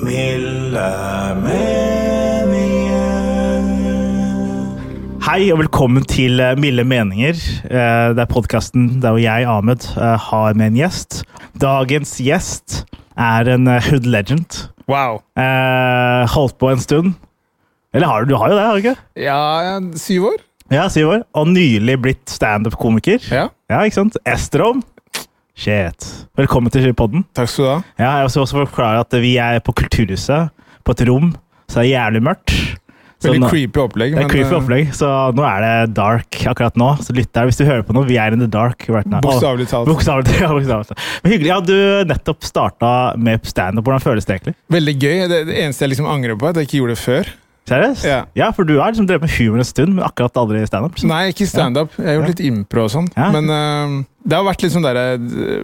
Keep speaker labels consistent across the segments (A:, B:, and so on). A: Milde meninger.
B: Hei og velkommen til eh, Milde meninger. Eh, Det er podkasten der hvor jeg, Ahmed, eh, har med en gjest. Dagens gjest er en eh, hood legend.
C: Wow.
B: Eh, Holdt på en stund. Eller har du, du har jo det, har du ikke?
C: Ja, syv år?
B: Ja, syv år. Og nylig blitt standup-komiker.
C: Ja.
B: Ja, ikke sant? Estrom. Shit. Velkommen til podden.
C: Takk skal du ha.
B: Ja, jeg vil også forklare at vi er på Kulturhuset, på et rom, så det er jævlig mørkt. Så
C: Veldig
B: nå-
C: creepy opplegg.
B: Sånn, Det er
C: men,
B: creepy
C: eh,
B: opplegg, så nå er det dark akkurat nå. Så lytt der hvis du hører på noe. Vi er in the dark right now.
C: Bokstavelig
B: Å,
C: talt.
B: Bokstavelig talt. ja, bokstavelig talt. Men hyggelig. Ja, du nettopp starta med standup. Hvordan føles det egentlig?
C: Veldig gøy. Det, det eneste jeg liksom angrer på, er at jeg ikke gjorde det før.
B: Seriøst?
C: Ja.
B: for du har liksom drevet med humor en stund, men akkurat aldri standup. så-
C: Nei, ikke standup. Jeg har gjort litt impro og sånn.
B: Ja.
C: Men eh, det har vært litt sånn der eh,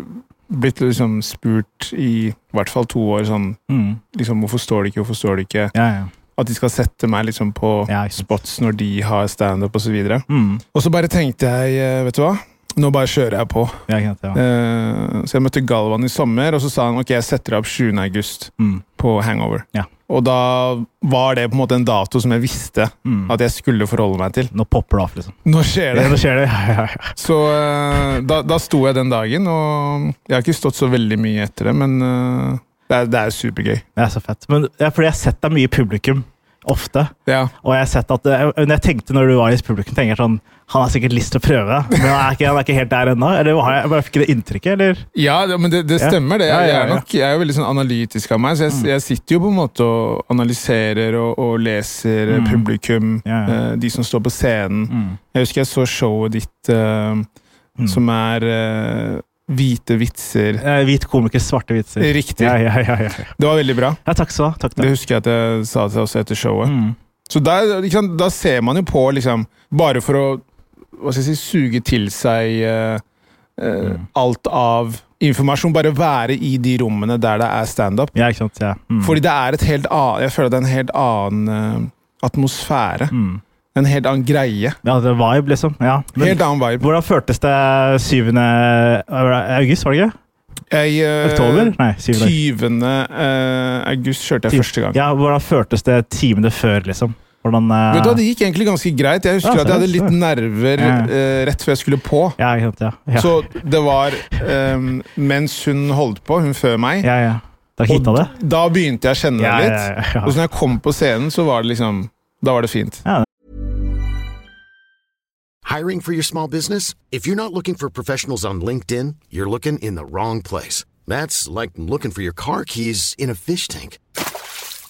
C: Blitt liksom spurt i i hvert fall to år sånn
B: Mm.
C: liksom, Hvorfor står det ikke, hvorfor står det ikke?
B: Ja, ja.
C: At de skal sette meg liksom på
B: Ja, ikke sant.
C: spots når de har standup osv. Og, så
B: Mm.
C: og så bare tenkte jeg, eh, vet du hva, nå bare kjører jeg på.
B: ja, ikke sant, ja.
C: Eh, så jeg møtte Galvan i sommer, og så sa han ok, jeg setter deg opp 7. august.
B: Mm.
C: på Hangover.
B: Ja.
C: Og da var det på en måte en dato som jeg visste
B: Mm.
C: at jeg skulle forholde meg til.
B: Nå popper det off, liksom.
C: Nå skjer det!
B: Ja, nå skjer det. Ja, ja, ja.
C: Så eh, da, da sto jeg den dagen, og jeg har ikke stått så veldig mye etter det, men eh, det, er, det er supergøy.
B: Det er så fett. Men ja, fordi jeg har sett deg mye i publikum. Ofte.
C: Ja.
B: Og jeg har sett at eh, Når jeg tenkte når du var i publikum, tenker jeg sånn Han har sikkert lyst til å prøve, men han er ikke, han er ikke helt der ennå. Eller har jeg, bare fikk det inntrykket, eller?
C: Ja, det- men det, det
B: Ja.
C: stemmer, det.
B: Ja,
C: Jeg,
B: ja, Mm.
C: er
B: ja.
C: nok, jeg er jo veldig sånn analytisk av meg, så jeg, jeg sitter jo på en måte og analyserer og, og leser eh,
B: Mm.
C: publikum,
B: Ja, ja.
C: eh, de som står på scenen.
B: Mm.
C: Jeg husker jeg så showet ditt, eh,
B: Mm.
C: som er eh, Hvite vitser.
B: Eh, Hvit komiker, svarte vitser.
C: Riktig.
B: Ja, ja, ja, ja.
C: Det var veldig bra.
B: ja takk skal du ha. Takk,
C: Eh, Det
B: takk.
C: husker jeg at jeg sa til oss etter showet.
B: Mm.
C: Så der, ikke sant, da ser man jo på, liksom, bare for å hva skal jeg si, suge til seg eh, eh,
B: Mm.
C: alt av informasjon. Bare være i de rommene der det er standup.
B: Ja, ikke sant. Ja. Mm.
C: Fordi det er et helt annet Jeg føler det er en helt annen eh, atmosfære.
B: mm.
C: En helt annen greie.
B: Ja, det er vibe, liksom. Ja. Men,
C: Helt annen vibe.
B: hvordan føltes det 7. august, var det ikke?
C: Jeg, eh,
B: Oktober? Nei, 7.
C: 20. eh, august kjørte jeg første gang.
B: Ja, hvordan føltes det timene før, liksom? Hvordan eh,
C: Vet du, hva, Det gikk egentlig ganske greit. Jeg husker
B: Ja,
C: at jeg hadde
B: seriøst,
C: litt nerver
B: Ja.
C: eh, rett før jeg skulle på.
B: Ja, ikke sant. Ja. Ja.
C: Så det var ehm, Mens hun holdt på, hun før meg,
B: ja, ja. Det er ikke hitta, det?
C: da begynte jeg å kjenne det
B: Ja, ja,
C: litt.
B: ja, ja.
C: Og så når jeg kom på scenen, så var det liksom Da var det fint.
D: Hiring for your small business? If you're not looking for professionals on LinkedIn, you're looking in the wrong place. That's like looking for your car keys in a fish tank.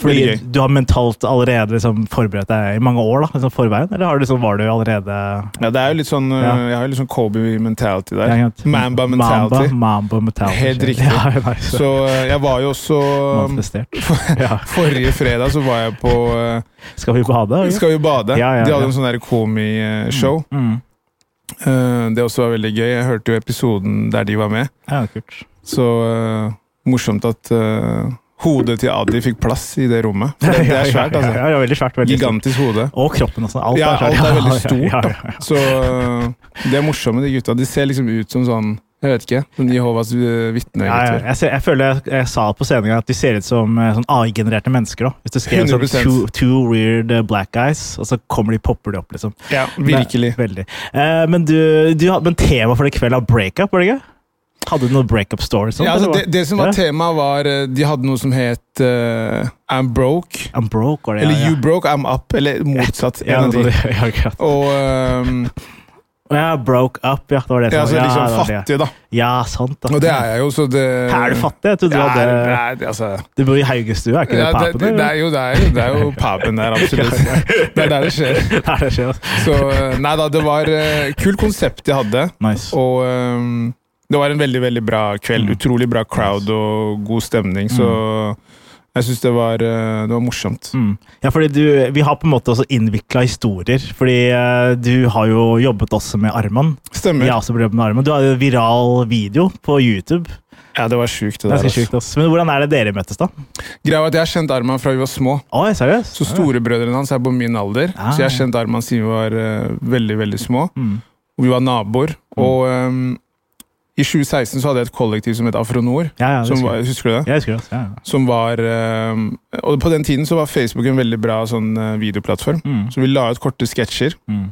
B: Fordi
C: Veldig
B: du har mentalt allerede liksom, forberedt deg i mange år, da, liksom, forveien? Eller har du, liksom, var du allerede
C: Ja, det er jo litt sånn eh,
B: Ja.
C: Jeg har jo litt sånn Kobe-mentality
B: Ja,
C: der.
B: ikke sant?
C: Mamba mentality.
B: Mamba, Mamba mentality.
C: Helt riktig.
B: Ja, nice.
C: Så eh, jeg var jo også
B: Manifestert. Ja.
C: Forrige fredag så var jeg på eh,
B: Skal vi bade? eller?
C: Skal vi bade?
B: Ja, ja,
C: De
B: ja.
C: hadde en sånn der komi-show. Eh,
B: Mm.
C: Det også var veldig gøy. Jeg hørte jo episoden der de var med.
B: Ja, kult.
C: Så eh, morsomt at eh, hodet til Adi fikk plass i det rommet. For det, det er svært,
B: Ja, ja,
C: altså.
B: ja, veldig svært. Veldig stort.
C: Gigantisk hode.
B: Og kroppen også. Alt,
C: Ja,
B: svært.
C: alt er
B: Ja,
C: veldig
B: ja,
C: stort.
B: ja,
C: da. Så eh, det er morsomme, de gutta. De ser liksom ut som sånn jeg vet ikke, som Jehovas eh,
B: Ja, ja.
C: vitnegutter.
B: Jeg, ser, jeg føler jeg, jeg sa på scenen at de ser ut som eh, sånn AI-genererte mennesker. Da. Hvis du skrev sånn
C: 100%.
B: two, two weird eh, black guys, og så kommer de popper de opp. liksom.
C: Ja, virkelig.
B: Nei, veldig. Eh, men du, du, har- men temaet for i kveld er breakup, var det ikke? Hadde du noen breakup stories?
C: Ja, altså, det, det som var
B: ja.
C: temaet, var eh, De hadde noe som het eh, I'm broke.
B: I'm broke, var det?
C: Eller
B: ja,
C: You broke, I'm up. Eller motsatt.
B: ja. altså
C: en av
B: Ja,
C: de.
B: ja, akkurat.
C: Og ehm,
B: ja, broke up, ja. Det var det som
C: ja, altså,
B: var ja,
C: liksom
B: det var det.
C: fattig, da.
B: Ja, sant. Da.
C: Og det er jeg jo, så det
B: Er du fattig? Jeg trodde du
C: Ja,
B: hadde
C: nei, det- altså,
B: Du bor i Haugestua, er ikke det
C: ja, det,
B: papen?
C: det, det,
B: eller?
C: er jo, det, er jo, det er jo papen der, absolutt. Det er der det skjer.
B: Nei, det skjer, altså.
C: Så eh, nei da, det var eh, kult konsept jeg hadde.
B: Nice.
C: Og ehm, det var en veldig veldig bra kveld.
B: Mm.
C: Utrolig bra crowd og god stemning. Så jeg syns det, var, eh, det var morsomt.
B: Mm. Ja, fordi du, Vi har på en måte også innvikla historier. Fordi eh, du har jo jobbet også med Arman.
C: Stemmer.
B: Jeg har
C: Ja,
B: også jobbet med Arman. Du har jo en viral video på YouTube.
C: det var sjukt. det der,
B: Ganske
C: altså.
B: sjukt, ass. Men hvordan er det dere møttes, da?
C: Greia var at Jeg har kjent Arman fra vi var små.
B: Oi, seriøst?
C: Så Storebrødrene hans er på min alder,
B: Ah.
C: så jeg har kjent Arman siden vi var eh, veldig veldig små.
B: Mm.
C: Og Vi var naboer. Og ehm, i 2016 så hadde jeg et kollektiv som het Afronor.
B: Ja, ja, det
C: Som
B: husker
C: var,
B: jeg.
C: husker du det?
B: Jeg husker det. ass. Ja, ja.
C: Som var ehm, Og på den tiden så var Facebook en veldig bra sånn eh, videoplattform.
B: Mm.
C: Så vi la ut korte sketsjer.
B: Mm.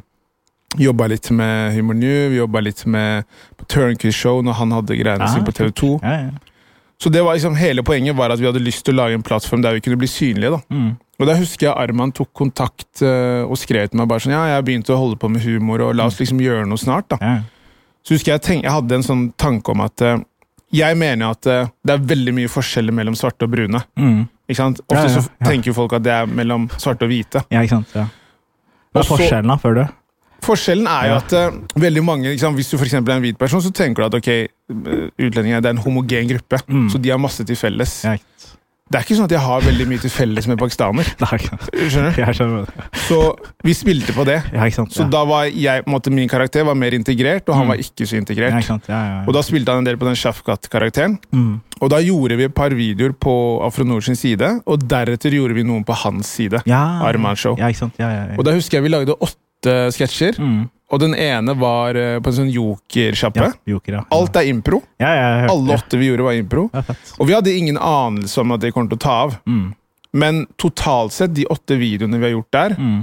C: Jobba litt med Humor New, vi jobba litt med på Turnkey Show når han hadde greiene
B: Ah,
C: sine på TV2.
B: Ja, ja.
C: Så det var liksom Hele poenget var at vi hadde lyst til å lage en plattform der vi kunne bli synlige. da
B: Mm.
C: Og Da husker jeg Arman tok kontakt eh, og skrev til meg bare sånn Ja, jeg har begynt å holde på med humor, og la
B: Mm.
C: oss liksom gjøre noe snart. da
B: ja.
C: Så husker Jeg tenk, jeg hadde en sånn tanke om at eh, jeg mener at eh, det er veldig mye forskjeller mellom svarte og brune.
B: Mm.
C: Ikke sant?
B: Ja,
C: Ofte
B: ja,
C: så
B: ja.
C: tenker jo folk at det er mellom svarte og hvite.
B: ja, ikke sant. Ja. Hva er
C: Og så-
B: forskjellen, da, føler du?
C: Forskjellen er jo
B: Ja.
C: at eh, veldig mange, ikke sant, hvis du for eksempel er en hvit person, så tenker du at ok, eh, utlendinger det er en homogen gruppe,
B: Mm.
C: så de har masse til felles.
B: Ja, ikke sant.
C: Det er ikke sånn at jeg har veldig mye til felles med pakistaner.
B: Nei, ikke sant.
C: skjønner du?
B: Jeg skjønner det.
C: Så vi spilte på det.
B: Ja, Mm. ikke sant.
C: Så da var jeg, på en måte, min karakter var mer integrert, og han var ikke så
B: ja,
C: integrert.
B: ikke sant. Ja, ja, ja.
C: Og da spilte han en del på den Shafkat-karakteren.
B: Mm.
C: Og da gjorde vi et par videoer på Afronor sin side, og deretter gjorde vi noen på hans side.
B: ja.
C: Arman Show.
B: Ja, ikke sant. Ja, ja, ja.
C: Og da husker jeg vi lagde åtte sketsjer,
B: mm.
C: og den ene var eh, på en sånn jokersjappe.
B: ja, Joker, ja.
C: Alt er impro.
B: Ja, ja, jeg hørte
C: Alle
B: det.
C: åtte vi gjorde, var impro.
B: Ja, fett.
C: Og vi hadde ingen anelse om at det kom til å ta av.
B: Mm.
C: Men totalt sett, de åtte videoene vi har gjort der,
B: Mm.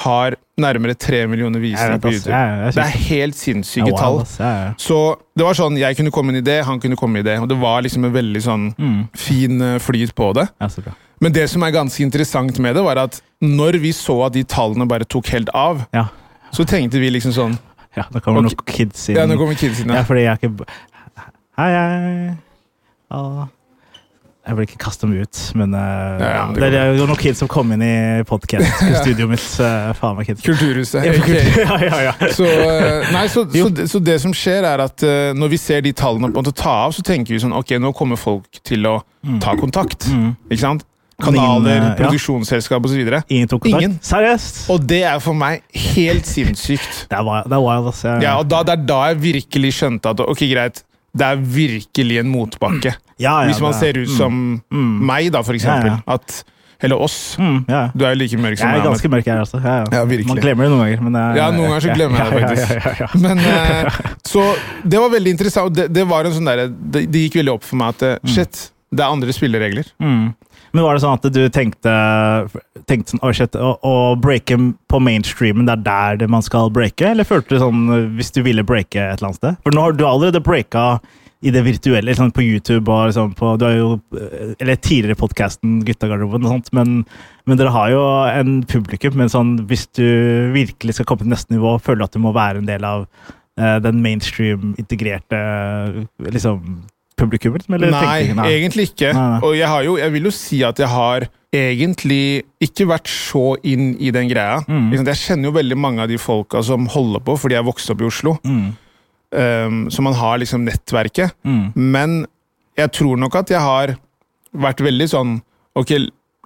C: har nærmere tre millioner
B: Jeg
C: visninger
B: vet,
C: på
B: ass. Ja,
C: YouTube.
B: ja, jeg
C: Det
B: synes
C: er helt
B: det
C: sinnssyke
B: er
C: tall.
B: wild, ass. Ja, altså. ja.
C: Så det var sånn, jeg kunne komme med en idé, han kunne komme med en idé. Og det var liksom en veldig sånn
B: Mm.
C: fin eh, flyt på det.
B: Ja, så bra.
C: Men det som er ganske interessant med det, var at når vi så at de tallene bare tok helt av,
B: Ja.
C: så tenkte vi liksom sånn
B: ja, nå kommer
C: Ok.
B: noen kids inn.
C: Ja, nå kommer kidsene.
B: Ja, fordi jeg er ikke Hei, hei. Ah. Jeg vil ikke kaste dem ut, men eh,
C: Ja, ja, men det
B: det, er jo noen kids som kom inn i podkast-studioet mitt. eh, faen meg, kids.
C: Kulturhuset.
B: Ja,
C: aka.
B: ja, ja, ja.
C: Så, eh, nei, så,
B: Jo.
C: så, det- så det som skjer, er at eh, når vi ser de tallene på en måte ta av, så tenker vi sånn Ok, nå kommer folk til å ta kontakt. Ikke sant?
B: Men Mm. ingen, eh,
C: Kanaler,
B: ja.
C: produksjonsselskap osv.
B: Ingen tok kontakt?
C: Ingen.
B: Seriøst?
C: Og det er for meg helt sinnssykt.
B: Det er wild, det er wild ass. Jeg-
C: Ja, og da, Det er da jeg virkelig skjønte at ok, greit, det er virkelig en motbakke.
B: Mm. Ja, ja,
C: Hvis man
B: det er- Mm.
C: ser ut som meg, da, for eksempel.
B: Ja,
C: At, eller oss.
B: mm, ja.
C: Du er jo like mørk som
B: Jeg er
C: meg.
B: ganske mørk her, altså. Ja,
C: Ja, virkelig.
B: Man glemmer det noen ganger. Men, eh,
C: Ja, noen ganger så glemmer jeg det
B: ja,
C: faktisk.
B: Ja, ja, ja, ja.
C: Men, eh, så det var veldig interessant. Det, det, var en sånn derre- det, det gikk veldig opp for meg at eh, shit, det er andre spilleregler.
B: Mm. Men var det sånn at du tenkte, tenkte sånn, «Å, shit, å, å breake på mainstreamen, det er der det man skal breake? Eller følte du sånn eh, hvis du ville breake et eller annet sted? For nå har du allerede breaka i det virtuelle, liksom på YouTube og liksom på Du har jo eh, Eller tidligere podkasten Guttagarderoben og sånt, men, men dere har jo en publikum. Men sånn hvis du virkelig skal komme til neste nivå, føler du at du må være en del av eh, den mainstream-integrerte liksom publikummet? liksom? Eller
C: Nei,
B: tenkte du,
C: egentlig ikke.
B: Nei, nei.
C: Og jeg, har jo, jeg vil jo si at jeg har egentlig ikke vært så inn i den greia.
B: Mm.
C: Ikke sant? Jeg kjenner jo veldig mange av de folka som holder på fordi jeg vokste opp i Oslo.
B: Mm.
C: Um, så man har liksom nettverket.
B: Mm.
C: Men jeg tror nok at jeg har vært veldig sånn Ok,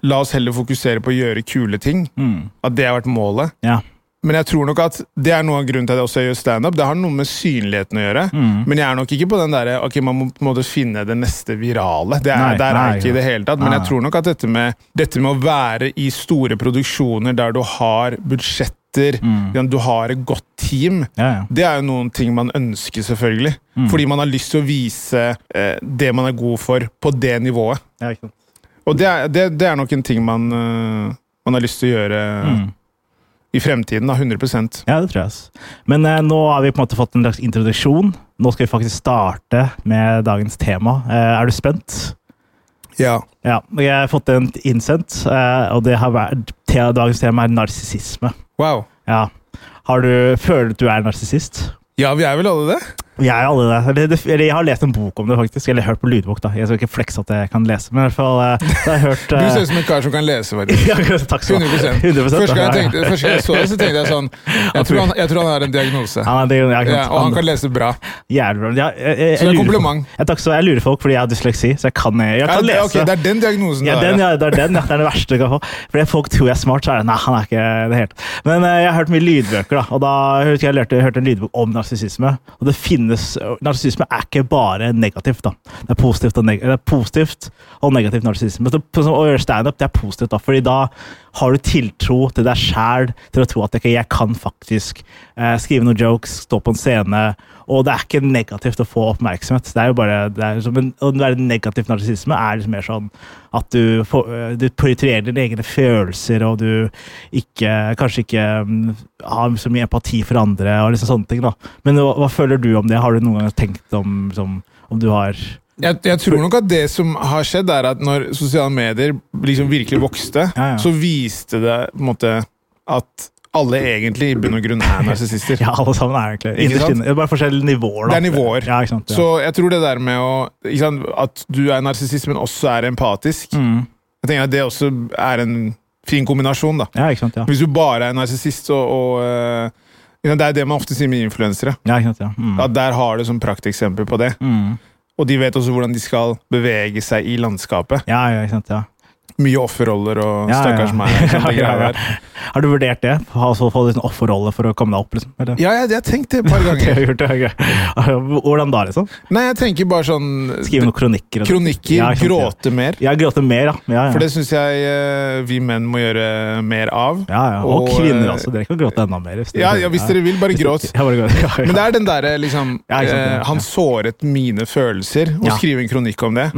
C: la oss heller fokusere på å gjøre kule ting.
B: Mm.
C: At det har vært målet.
B: Ja.
C: Men jeg tror nok at det er noe av grunnen til at jeg også gjør standup. Det har noe med synligheten å gjøre.
B: Mm.
C: Men jeg er nok ikke på den derre Ok, man må på en måte finne det neste virale. Det er,
B: Nei,
C: der er
B: nei,
C: jeg ikke i det hele tatt. Men
B: Nei.
C: jeg tror nok at dette med, dette med å være i store produksjoner der du har budsjetter,
B: Mm.
C: der du har et godt team,
B: Ja, ja.
C: det er jo noen ting man ønsker, selvfølgelig.
B: Mm.
C: Fordi man har lyst til å vise eh, det man er god for, på det nivået.
B: ja ikke sant. Mm.
C: Og det er, det, det er nok en ting man, eh, man har lyst til å gjøre i fremtiden. da, 100
B: Ja, det tror jeg. ass. Men eh, nå har vi på en måte fått en slags introduksjon. Nå skal vi faktisk starte med dagens tema. Eh, er du spent?
C: Ja.
B: Ja. Jeg har fått en innsendt, eh, og det har vært, te dagens tema er narsissisme.
C: Wow.
B: Ja. Har du, føler du at du er narsissist?
C: Ja, vi er vel alle det?
B: Jeg er alle det. Eller, det. eller jeg har lest en bok om det, faktisk. Eller hørt på lydbok, da. Jeg skal ikke flekse at jeg kan lese, men i hvert fall eh, jeg har hørt
C: Du
B: eh,
C: ser ut som en kar som kan lese. faktisk.
B: ja, Takk skal
C: 100,
B: du ha. 100%
C: Første gang jeg,
B: ja, ja.
C: tenkte, første gang jeg så det, så tenkte jeg sånn Jeg tror han, jeg tror han har en diagnose.
B: Han er det, ja, ikke sant?
C: Ja, og han kan lese bra.
B: Jævlig bra. Jeg, jeg, jeg,
C: Så det er
B: lurer
C: kompliment.
B: Folk. Jeg, takk, så jeg lurer folk fordi jeg har dysleksi, så jeg kan, jeg
C: Ja,
B: kan
C: det,
B: lese.
C: ok, det er den diagnosen
B: ja,
C: det
B: den,
C: er.
B: ja, det er den, ja. Det er det verste du kan få. Fordi folk tror jeg er smart, så er det Nei, han er ikke det helt. Men eh, jeg har hørt mye lydbøker, da. Og da husker jeg jeg lærte, jeg hørte en lydbok om narsissisme. Og det finnes Narsissisme er ikke bare negativt, da. Det er positivt og, neg det er positivt og negativt narsissisme. Så på- som Å gjøre standup, det er positivt, da. Fordi da har du tiltro til deg sjæl, til å tro at ok, jeg kan faktisk eh, skrive noen jokes, stå på en scene. Og det er ikke negativt å få oppmerksomhet. Det er jo bare, det er som en, Å være negativ narsissisme er liksom mer sånn at du, får, øh, du prioriterer dine egne følelser, og du ikke, kanskje ikke mm, har så mye empati for andre. og liksom sånne ting da. Men hva, hva føler du om det? Har du noen gang tenkt om, som, om du har
C: Jeg, jeg tror nok at det som har skjedd, er at når sosiale medier liksom virkelig vokste,
B: Ja, ja.
C: så viste det på en måte at alle egentlig i bunn og grunn er narsissister.
B: Ja, alle sammen er egentlig
C: Ikke
B: innerst
C: sant?
B: inne. Det er bare forskjellige nivåer. da.
C: Det er nivåer.
B: Ja, ikke sant? Ja.
C: Så jeg tror det der med å, ikke sant, at du er narsissist, men også er empatisk,
B: Mm.
C: jeg tenker at det også er en fin kombinasjon. da.
B: ja, ikke sant? Ja.
C: Hvis du bare er narsissist og, og eh, ikke sant, Det er det man ofte sier med influensere.
B: ja, ikke sant? Ja. Mm.
C: At der har du som prakteksempel på det. Og de vet også hvordan de skal bevege seg i landskapet.
B: ja, ja, ikke sant? Ja.
C: Mye offerroller
B: Ja, ja,
C: og
B: ja.
C: stakkars meg. og
B: Ja,
C: sånne
B: ja,
C: greier
B: ja.
C: der.
B: Har du vurdert det? Ha så få liksom offerrolle for å komme deg opp? liksom? Eller?
C: Ja, ja, jeg har tenkt det et par
B: Det har
C: ganger.
B: vi gjort, ja, ok. Hvordan da, liksom?
C: Nei, jeg tenker bare sånn
B: Skrive noen kronikker? og sånt.
C: Kronikker,
B: Ja, ikke sant, ja.
C: gråte mer.
B: Ja, gråte mer, ja. ja, ja.
C: For det syns jeg eh, vi menn må gjøre mer av.
B: ja, ja. Og,
C: eh,
B: kvinner også. Dere kan gråte enda mer.
C: Ja, ja, hvis dere vil, bare
B: Hvis
C: gråt.
B: dere- Ja, bare gråt. Ja, ja.
C: Men det er den derre liksom
B: Ja, ikke sant, ja,
C: eh,
B: ja.
C: Han såret mine følelser, og
B: Ja. Mm.
C: skrive en kronikk om det.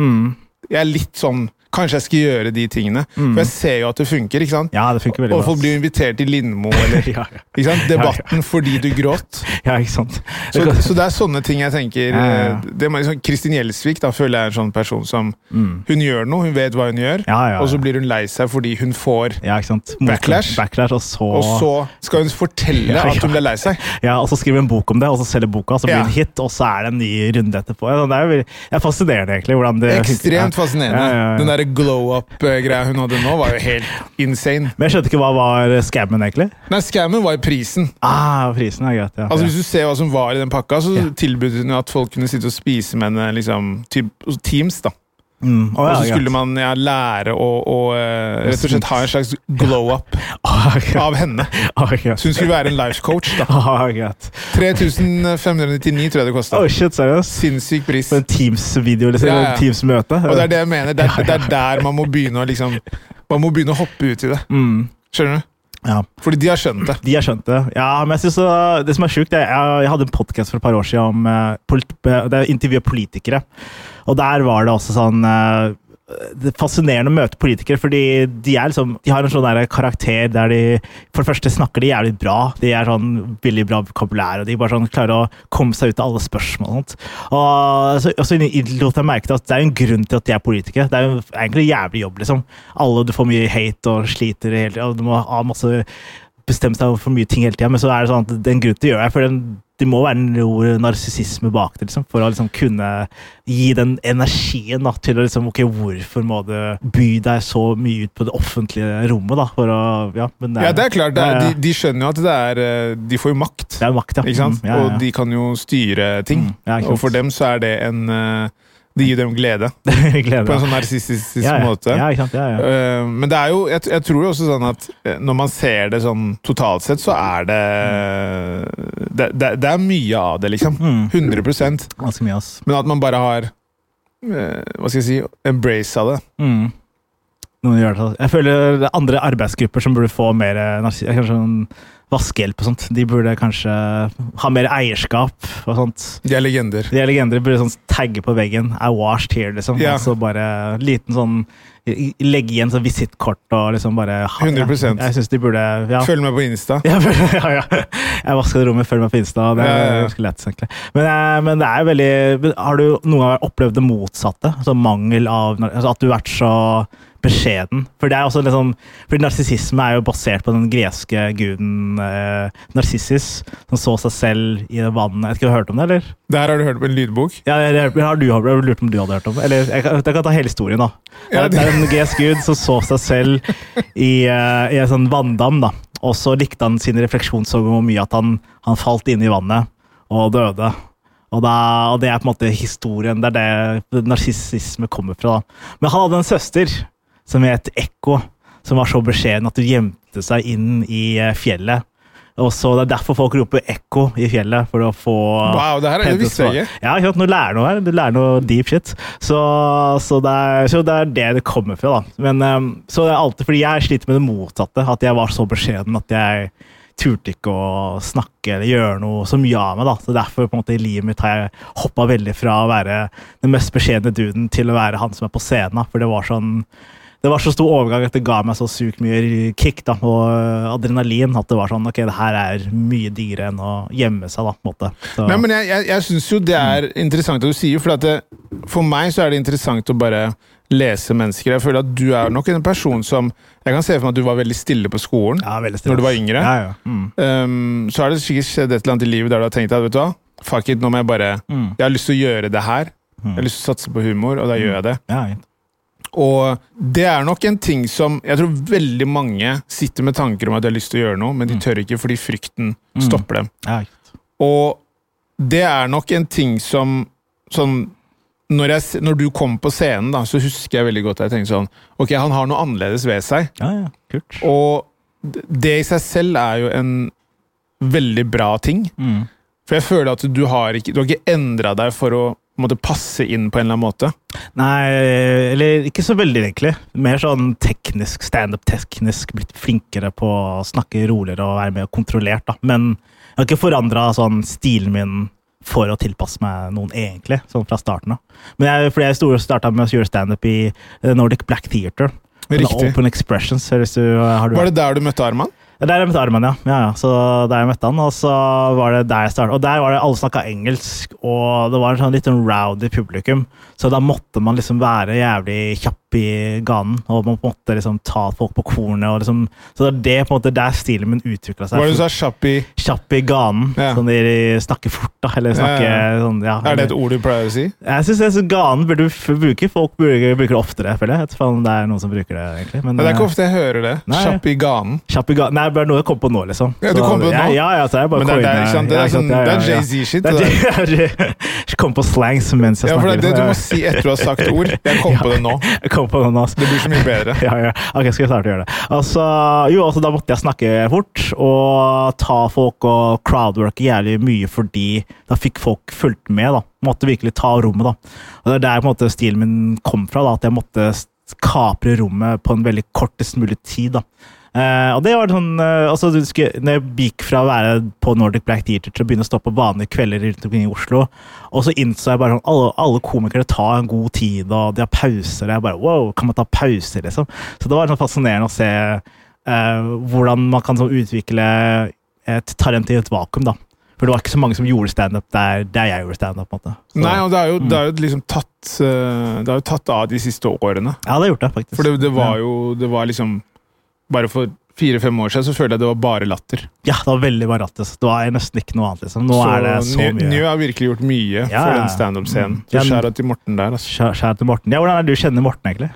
C: Jeg er litt sånn Kanskje jeg skal gjøre de tingene. For jeg ser jo at det funker. ikke sant?
B: ja, det funker veldig
C: Og
B: bra.
C: folk blir invitert til Lindmo eller
B: ja, ja.
C: ikke sant? Debatten fordi du gråt.
B: ja, ikke sant.
C: Så,
B: Det kan-
C: så det er sånne ting jeg tenker
B: Ja, ja, ja.
C: eh, det må liksom, Kristin Gjelsvik da, føler jeg er en sånn person som Hun gjør noe, hun vet hva hun gjør,
B: Mm. Ja, ja, ja.
C: og så blir hun lei seg fordi hun får
B: ja, ikke sant. Mot-
C: Backlash.
B: Backlash, og så,
C: Og så skal hun fortelle
B: Ja, ja.
C: at hun ble lei seg.
B: ja, og så skriver en bok om det, og så selger boka, så blir
C: Ja.
B: det en hit, og så er det en ny runde etterpå. Ja, Det er, jo, veldig- det er fascinerende, egentlig. hvordan det funker. Ja.
C: Ekstremt fascinerende.
B: Ja, ja, ja.
C: Den derre glow up-greia hun hadde nå, var jo helt insane.
B: Men jeg skjønte ikke hva var scammen, egentlig.
C: Nei, scammen var jo prisen.
B: Ah, prisen er greit, ja.
C: Altså
B: ja.
C: Hvis du ser hva som var i den pakka, så
B: Ja.
C: tilbød hun at folk kunne sitte og spise med henne. Liksom, typ, teams, da.
B: Mm, å, ja,
C: Og så
B: greit.
C: skulle man ja, lære å, å eh, rett og slett ha en slags glow up
B: Ah, greit.
C: av henne.
B: Ah, greit.
C: Så hun skulle være en life coach. da.
B: Ah, greit.
C: 3599 tror jeg det kosta.
B: Oh, shit, seriøst?
C: Sinnssyk pris.
B: For en Teams-video, liksom.
C: Ja, ja.
B: eller Teams-møte.
C: Og det er det jeg mener. Det er, det er der man må begynne å liksom Man må begynne å hoppe ut i det. Skjønner du?
B: Mm. Ja.
C: Fordi de har skjønt det.
B: De har skjønt det. Ja, men jeg synes uh, Det som er sjukt, er jeg, jeg hadde en podkast for et par år siden om uh, polit, eh, der jeg intervjuet politikere. Og der var det også sånn eh, det er Fascinerende å møte politikere, fordi de, er liksom, de har en sånn der karakter der de For det første snakker de jævlig bra. De er sånn veldig bra vokabulær, og de bare sånn klarer å komme seg ut av alle spørsmål. Og, sånt. og så, og så lot jeg merke til at det er jo en grunn til at de er politikere. Det er jo egentlig en jævlig jobb, liksom. Alle, du får mye hate og sliter hele tiden, og du må ha masse bestemt seg for mye ting hele tida, men så er det sånn at den grunnen til å gjøre det, er for den, det må være noe narsissisme bak det, liksom, for å liksom kunne gi den energien da, til å liksom Ok, hvorfor må du by deg så mye ut på det offentlige rommet, da, for å Ja, men
C: Ja, det er klart. Det er,
B: Ja, ja.
C: de, de skjønner jo at det er eh, De får jo makt.
B: Det er makt, ja.
C: Ikke sant?
B: Mm, ja, ja, ja.
C: Og de kan jo styre ting.
B: Mm, ja, ikke
C: Og for
B: sant.
C: dem så er det en eh, Det gir dem glede
B: Gleder
C: på en
B: meg.
C: sånn narsissistisk
B: ja, ja.
C: måte.
B: Ja, ikke sant? Ja, ja.
C: Eh, Men det er jo, jeg, jeg tror jo også sånn at eh, når man ser det sånn totalt sett, så er det Det, det, det er mye av det, liksom.
B: Mm.
C: 100
B: Ganske mye, ass.
C: Men at man bare har eh, Hva skal jeg si Embrace av det.
B: Mm. Noen gjør det. Jeg føler det er andre arbeidsgrupper som burde få mer eh, narsi- kanskje sånn vaskehjelp og sånt. De burde kanskje ha mer eierskap og sånt.
C: De er legender.
B: De er legender burde sånn tagge på veggen 'I washed here', liksom.
C: Ja.
B: Og så bare liten sånn i- Legge igjen sånn visittkort og liksom bare ha-
C: 100%.
B: Ja, jeg syns de burde ja.
C: Følg med på Insta.
B: Ja, ja, ja. Jeg vaska rommet, følg meg på Insta. Det er
C: Ja, ja, ja.
B: ganske lett, egentlig. Men, eh, men det er jo veldig men Har du noen gang opplevd det motsatte? Altså mangel av altså At du har vært så beskjeden? For det er også liksom Fordi narsissisme er jo basert på den greske guden eh, Narsissis, som så seg selv i vannet. Jeg vet ikke om du har hørt om det, eller?
C: Der har du hørt på en lydbok.
B: Ja, jeg, jeg, har du, jeg har lurt på om du hadde hørt om Eller jeg, kan- jeg kan ta hele historien, da. Det
C: Ja,
B: er, det er en GS Gud som så seg selv i, eh, i en sånn vanndam. da. Og så likte han sin refleksjon så hvor mye at han, han falt inn i vannet og døde. Og, da, og det er på en måte historien. Det er det narsissisme kommer fra. da. Men han hadde en søster som het Ekko, som var så beskjeden at hun gjemte seg inn i eh, fjellet. Og så Det er derfor folk roper 'ekko' i fjellet, for å få
C: Wow, det her er- det visste jeg ikke.
B: ja, ikke sant? Nå lærer du noe her. Du lærer noe deep shit. Så, så, det, er, så det er det det kommer fra, da. Men, ehm, så det er alltid fordi jeg sliter med det motsatte. At jeg var så beskjeden at jeg turte ikke å snakke eller gjøre noe så mye av meg. da. Så Derfor på en måte i livet mitt har jeg hoppa veldig fra å være den mest beskjedne duden til å være han som er på scenen. da. For det var sånn det var så stor overgang at det ga meg så sykt mye kick da, og øh, adrenalin at det var sånn Ok, det her er mye diggere enn å gjemme seg, da, på en måte. Så,
C: Nei, men jeg, jeg, jeg syns jo det er interessant det du sier, for at det, for meg så er det interessant å bare lese mennesker. Jeg føler at du er nok en person som Jeg kan se for meg at du var veldig stille på skolen.
B: ja, veldig stille.
C: Når du var yngre?
B: Ja, ja. Mm.
C: Um, så er det sikkert skjedd et eller annet i livet der du har tenkt at vet du hva, fuck it, nå må jeg bare Jeg har lyst til å gjøre det her. Jeg har lyst til å satse på humor, og da gjør jeg det.
B: Ja, egentlig.
C: Og det er nok en ting som Jeg tror veldig mange sitter med tanker om at de har lyst til å gjøre noe, men de tør ikke fordi frykten stopper dem.
B: ja, egentlig.
C: Og det er nok en ting som sånn, når, jeg, s- når du kom på scenen, da, så husker jeg veldig godt at jeg tenkte sånn Ok, han har noe annerledes ved seg.
B: ja, ja. Kult.
C: Og d- det i seg selv er jo en veldig bra ting. For jeg føler at du har ikke, du har ikke endra deg for å på en måte, passe inn på en eller annen måte.
B: Nei, eller ikke så veldig, egentlig. Mer sånn teknisk, standup-teknisk, blitt flinkere på å snakke roligere og være mer kontrollert, da. Men jeg har ikke forandra sånn stilen min for å tilpasse meg noen, egentlig, sånn fra starten av. Men jeg, fordi jeg starta med å gjøre standup i eh, Nordic Black Theater. Men
C: Riktig.
B: Open Expressions, hvis du har du
C: Var det der du møtte Arman?
B: Ja, Der jeg møtte Arman, ja. ja, ja. Så der jeg møtte han, og så var det der jeg startet. Og der var det alle snakka engelsk, og det var en sånn litt sånn rowdy publikum. Så da måtte man liksom være jævlig kjapp i ganen, og man måtte liksom ta folk på kornet. Og liksom, så det er det på en måte der stilen min utvikla seg.
C: Var det du sa kjapp i
B: Kjapp i ganen.
C: Ja.
B: Sånn de snakker fort, da. Eller snakker
C: Ja,
B: sånn, ja.
C: Er det et ord du pleier å si?
B: Jeg syns ganen burde du f- bruke. Folk bruker, bruker det oftere, føler jeg. Jeg vet ikke om det er noen som bruker det, egentlig. Men,
C: Nei, det er
B: eh,
C: ikke ofte jeg hører det.
B: Nei.
C: Kjapp i ganen.
B: Kjapp i ga- Nei, bare noe jeg kom på nå, liksom.
C: Ja, du
B: Så-
C: kom på det nå?
B: Ja, ja, så jeg bare
C: Men det er- det er-
B: coiner-
C: ikke sant? Det er
B: ja,
C: sånn-
B: ja,
C: det
B: ja,
C: er
B: ja.
C: Jay-Z-shit,
B: Det er
C: det
B: Jay- Jeg kom på slangs mens jeg
C: Ja, for
B: snakker.
C: det er det du
B: liksom.
C: må si etter du har sagt ord. Jeg kom på det nå.
B: Jeg kom på det nå.
C: Det blir så mye bedre.
B: Ja, ja. Ok, skal jeg starte å gjøre det. Altså, jo, altså, da måtte jeg snakke fort og ta folk og crowdworke jævlig mye fordi da fikk folk fulgt med. da. Måtte virkelig ta rommet. da. Og Det er der på en måte stilen min kom fra, da, at jeg måtte s- kapre rommet på en veldig kortest mulig tid. da. Eh, og det var sånn, eh, altså, du husker, når jeg gikk fra å være på Nordic Black Theater til å begynne å stå på vanlige kvelder rundt omkring i Oslo, og så innså jeg bare sånn, alle, alle komikere tar en god tid, og de har pauser. og Jeg bare, wow, kan man ta pauser, liksom? Så det var sånn fascinerende å se eh, hvordan man kan sånn, utvikle et talent i et vakuum, da. For det var ikke så mange som gjorde standup der, der jeg gjorde standup. på en måte. Så-
C: Nei, og det er jo, det er jo liksom tatt eh, Det er jo tatt av de siste årene.
B: Jeg hadde gjort det, faktisk.
C: For det, det var jo Det var liksom Bare for fire-fem år siden så følte jeg det var bare latter.
B: Ja, det var veldig barattes. Det var nesten ikke noe annet, liksom. Nå er det så
C: Njø-
B: mye.
C: Njø har virkelig gjort mye
B: Ja. Mm.
C: for den standup-scenen.
B: Ja,
C: Så
B: men-
C: skjæra til Morten der. Altså.
B: Kjære kjære til Morten. Ja, Hvordan er det du kjenner Morten, egentlig?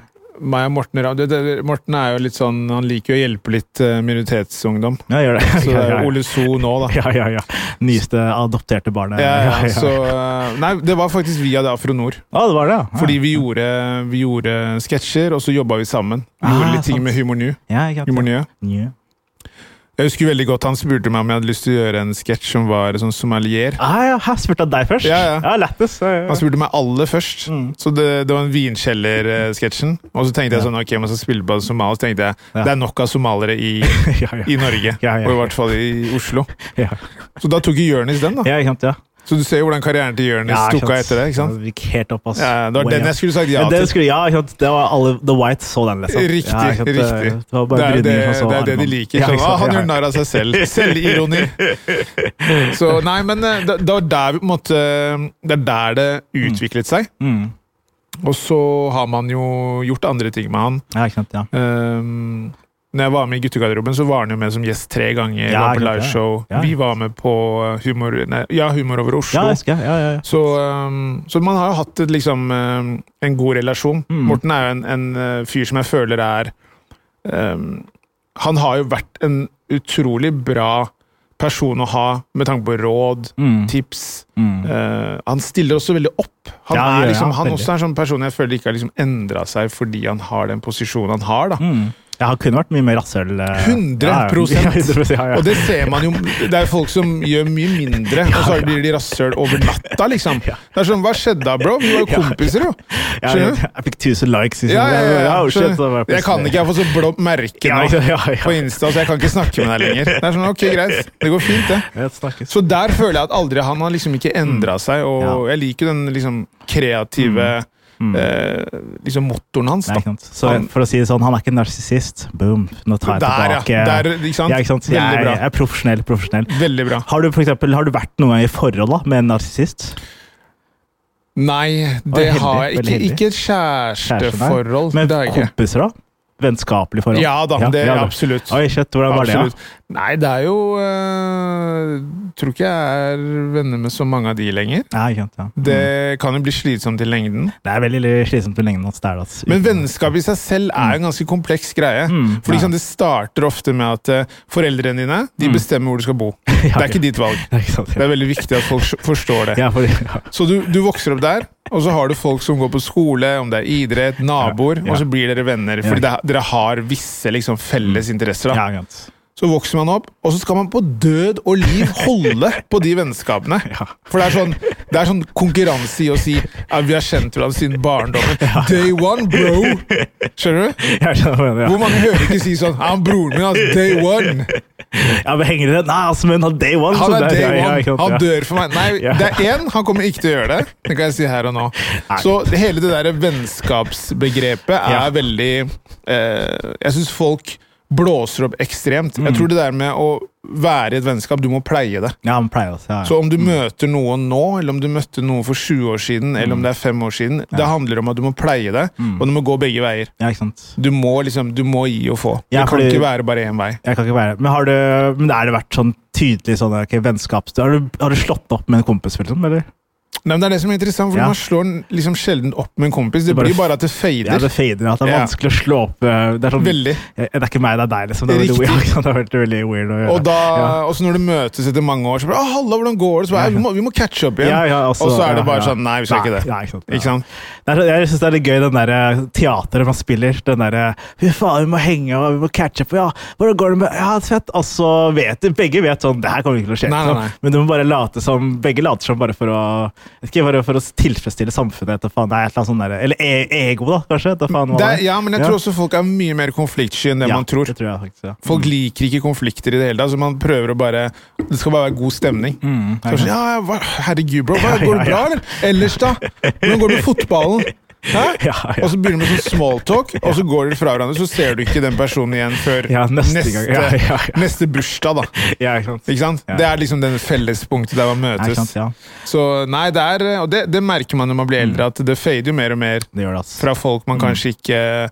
C: Meg og Morten, Ramm- det, det, Morten er jo litt sånn Han liker jo å hjelpe litt eh, minoritetsungdom.
B: Ja, gjør det.
C: Så det
B: ja,
C: er
B: ja,
C: jo
B: ja.
C: Ole So nå, da.
B: ja, ja, ja. Nyeste adopterte barnet.
C: Ja, ja, så, eh, nei, det var faktisk via det Afro Nord.
B: Å, det var det, ja.
C: Fordi vi gjorde, vi gjorde sketsjer, og så jobba vi sammen. Vi
B: Ah,
C: gjorde litt ting
B: sant.
C: med Humor New.
B: ja, ikke sant.
C: Humor New.
B: Njø.
C: Jeg husker veldig godt han spurte meg om jeg hadde lyst til å gjøre en sketsj som var sånn sommelier.
B: Ah, ja, jeg spurte deg først?
C: Ja, ja.
B: lættis. Ja, ja. Mm.
C: Han spurte meg aller først, så det, det var en vinkjeller-sketsjen. Og så tenkte jeg sånn, ok, man skal spille på somalier, så tenkte jeg
B: Ja.
C: det er nok av somalere i,
B: Ja, ja.
C: i Norge.
B: Ja, ja,
C: Og
B: ja.
C: i hvert fall i Oslo.
B: Ja.
C: Så da tok jo Jonis den, da.
B: ja, ikke sant. Ja.
C: Så du ser jo hvordan karrieren til Jonis
B: Ja,
C: tok
B: sant.
C: av etter det. ikke sant?
B: Ja, det gikk helt opp, ass.
C: Ja, det var
B: Way
C: den jeg
B: up.
C: skulle sagt ja
B: det
C: til.
B: Skulle, ja, ikke sant? Det var alle The White så den, liksom.
C: Riktig.
B: ja, ikke sant?
C: riktig.
B: Det, det var
C: Det
B: bare
C: er jo det,
B: brydningen som
C: det, er
B: var
C: det de
B: armen.
C: liker.
B: Ja,
C: Sånn,
B: ikke
C: ah,
B: sant?
C: han
B: Ja.
C: gjør narr av seg selv. Selvironi. Så nei, men eh, det, det var der vi på en måte eh, Det er der det utviklet seg.
B: Mm.
C: Og så har man jo gjort andre ting med han.
B: Ja, ikke sant. Ja.
C: Um, når jeg var med i guttegarderoben, så var han jo med som gjest tre ganger.
B: Ja, ikke
C: var på
B: sant,
C: liveshow.
B: ja. Ja.
C: Vi var med på eh, Humor, nei, ja, humor over
B: ja,
C: Oslo.
B: jeg husker. Ja, ja, ja.
C: Så, um, så man har jo hatt et, liksom, um, en god relasjon.
B: Mm.
C: Morten er jo en, en uh, fyr som jeg føler er um, Han har jo vært en utrolig bra person å ha med tanke på råd,
B: Mm.
C: tips.
B: Mm.
C: Uh, han stiller også veldig opp.
B: Ja,
C: Han,
B: ja,
C: er,
B: ja,
C: liksom, han
B: veldig.
C: også er en sånn person jeg føler ikke har liksom endra seg fordi han har den posisjonen han har. da.
B: Mm. Ja, han kunne vært mye mer rasshøl. eh,
C: 100
B: ja, ja, 100%, ja, ja.
C: Og det ser man jo Det er folk som gjør mye mindre, og så blir de rasshøl over natta, liksom. Det er sånn, Hva skjedde da, bro? Vi var jo kompiser, jo.
B: Ja,
C: Skjønner du?
B: jeg, jeg fikk 1000 likes. Liksom.
C: Ja, ja, ja, ja.
B: oh, shit,
C: skjønner.
B: det var
C: Jeg kan ikke, jeg får så blått merke
B: Ja,
C: nå
B: ja, ja, ja.
C: på Insta, så jeg kan ikke snakke med deg lenger. Det er sånn, ok, greit. Det går fint, det.
B: Jeg snakkes.
C: Så der føler jeg at aldri han har liksom ikke endra
B: Mm.
C: seg, og jeg liker jo den liksom kreative eh, liksom motoren hans,
B: Mm. Nei, ikke
C: da.
B: sant. Så for å si det sånn, han er ikke narsissist. Boom. Nå tar jeg
C: Der, ja.
B: tilbake.
C: Der, ikke sant?
B: Ja, ikke sant? Jeg,
C: Veldig
B: er-
C: bra.
B: jeg er profesjonell, profesjonell.
C: Veldig bra.
B: Har du, for eksempel, har du vært noen gang i forhold da, med en narsissist?
C: Nei, det
B: heldig,
C: har jeg
B: veldig
C: ikke.
B: heldig.
C: Ikke et
B: Kjæreste, nei.
C: kjæresteforhold.
B: Men
C: det har jeg ikke.
B: kompiser, da? Vennskapelige forhold?
C: Ja da, det
B: ja da.
C: absolutt.
B: Oi, shit, hvordan var
C: Absolutt.
B: det?
C: Nei, det er jo øh, Tror ikke jeg er venner med så mange av de lenger.
B: da? Nei, ikke sant, ja.
C: Det
B: Mm.
C: kan jo bli slitsomt i lengden.
B: det er veldig slitsomt på lengden. altså. at det er det, ass.
C: Men vennskap i seg selv er en ganske kompleks greie.
B: Mm,
C: For
B: ja. Mm.
C: liksom, Det starter ofte med at eh, foreldrene dine de bestemmer hvor du skal bo. Det er ikke ditt valg.
B: Det er ikke sant,
C: Det
B: ja.
C: er veldig viktig at folk forstår det.
B: Ja, for, ja.
C: Så du, du vokser opp der, og så har du folk som går på skole, om det er idrett, naboer,
B: Ja, ja.
C: og så blir dere venner. Fordi det, dere har visse liksom, felles
B: Ja,
C: interesser. Da.
B: ikke sant.
C: Så vokser man opp, og så skal man på død og liv holde på de vennskapene. For det er sånn, det er sånn konkurranse i å si ja, vi har kjent hverandre siden barndommen. Day one, bro! Skjønner du?
B: Jeg skjønner hva du mener, ja.
C: Hvor mange hører ikke si sånn Han broren min, altså, day one!
B: Ja, men henger det? Nei, altså, men han day one.
C: Han
B: så
C: er
B: det- ja,
C: day
B: ja,
C: one.
B: ikke sant,
C: Han
B: ja.
C: dør for meg. Nei,
B: Ja.
C: det er én. Han kommer ikke til å gjøre det. Det kan jeg si her og nå. Så hele det der vennskapsbegrepet er
B: Ja.
C: veldig eh, Jeg syns folk blåser opp ekstremt.
B: Mm.
C: Jeg tror det der med å være i et vennskap, du må pleie det.
B: Ja, han pleier oss, ja. ja. Mm.
C: Så om du møter noen nå, eller om du møtte noen for 20 år siden,
B: Mm.
C: eller om det er fem år siden, det handler om at du må pleie det, og det må gå begge veier.
B: ja, ikke sant.
C: Du må liksom, du må gi og få.
B: Ja,
C: det kan
B: fordi-
C: ikke være bare én vei.
B: Jeg kan ikke være Men har du, men er det vært sånn tydelig sånn ok, vennskap har du, har du slått opp med en kompis, liksom? Eller?
C: Nei, men det er det som er interessant, for
B: Ja.
C: man slår den liksom sjelden opp med en kompis. Det
B: Bare-
C: blir bare at det fader.
B: Ja, det fader at det er
C: Ja.
B: vanskelig å slå opp eh, Det er sånn
C: Veldig.
B: Eh, Det er ikke meg, det er deg, liksom. Det er veldig,
C: Riktig.
B: weird, ikke sant? det er veldig, veldig weird å gjøre.
C: Og da,
B: ja.
C: også når du møtes etter mange år, så bare «Å, 'Halla, hvordan går det?' Så bare, «Ei, vi, må, 'Vi må catche opp igjen'.
B: Ja, ja, altså,
C: og så er det
B: ja,
C: bare
B: ja.
C: sånn Nei, vi skal ikke det.
B: Nei, ikke sant, ja.
C: Ikke sant?
B: Det er, så- jeg syns det er litt gøy, den der eh, teateret man spiller. Den derre 'Fy faen, vi må henge og vi må catche på', ja. Hvordan går det med Ja, fett. Og så vet de, begge vet sånn Det her kommer ikke til å skje.
C: Nei, nei, nei.
B: liksom. Men du må bare late som Begge later som bare for å vet ikke, bare for å tilfredsstille samfunnet. Etter, faen, det er et eller annet sånn der, Eller e ego, da, kanskje. Da, faen, hva
C: Det,
B: det
C: er- ja, men jeg tror også folk er mye mer konfliktsky enn det
B: Ja,
C: man tror.
B: Det tror jeg faktisk, ja.
C: Folk liker ikke konflikter i det hele tatt, så man prøver å bare Det skal bare være god stemning.
B: Mm,
C: Så er det sånn, ja, ja, hva, herregud, bro. Hva, går det bra, eller? Ellers, da? Hvordan går det med fotballen? Hæ?
B: Ja, ja.
C: Og så begynner man med sånn smalltalk, og så går dere fra hverandre, så ser du ikke den personen igjen før
B: Ja, neste gang. Ja, ja, ja.
C: neste bursdag, da.
B: ja, ikke sant.
C: Ikke sant?
B: Ja.
C: Det er liksom den fellespunktet der man
B: Nei,
C: møtes.
B: ikke sant, ja.
C: Så nei, det er Og det, det merker man når man blir
B: Mm.
C: eldre, at det fader jo mer og mer
B: Det altså. gjør det, ass.
C: fra folk man kanskje ikke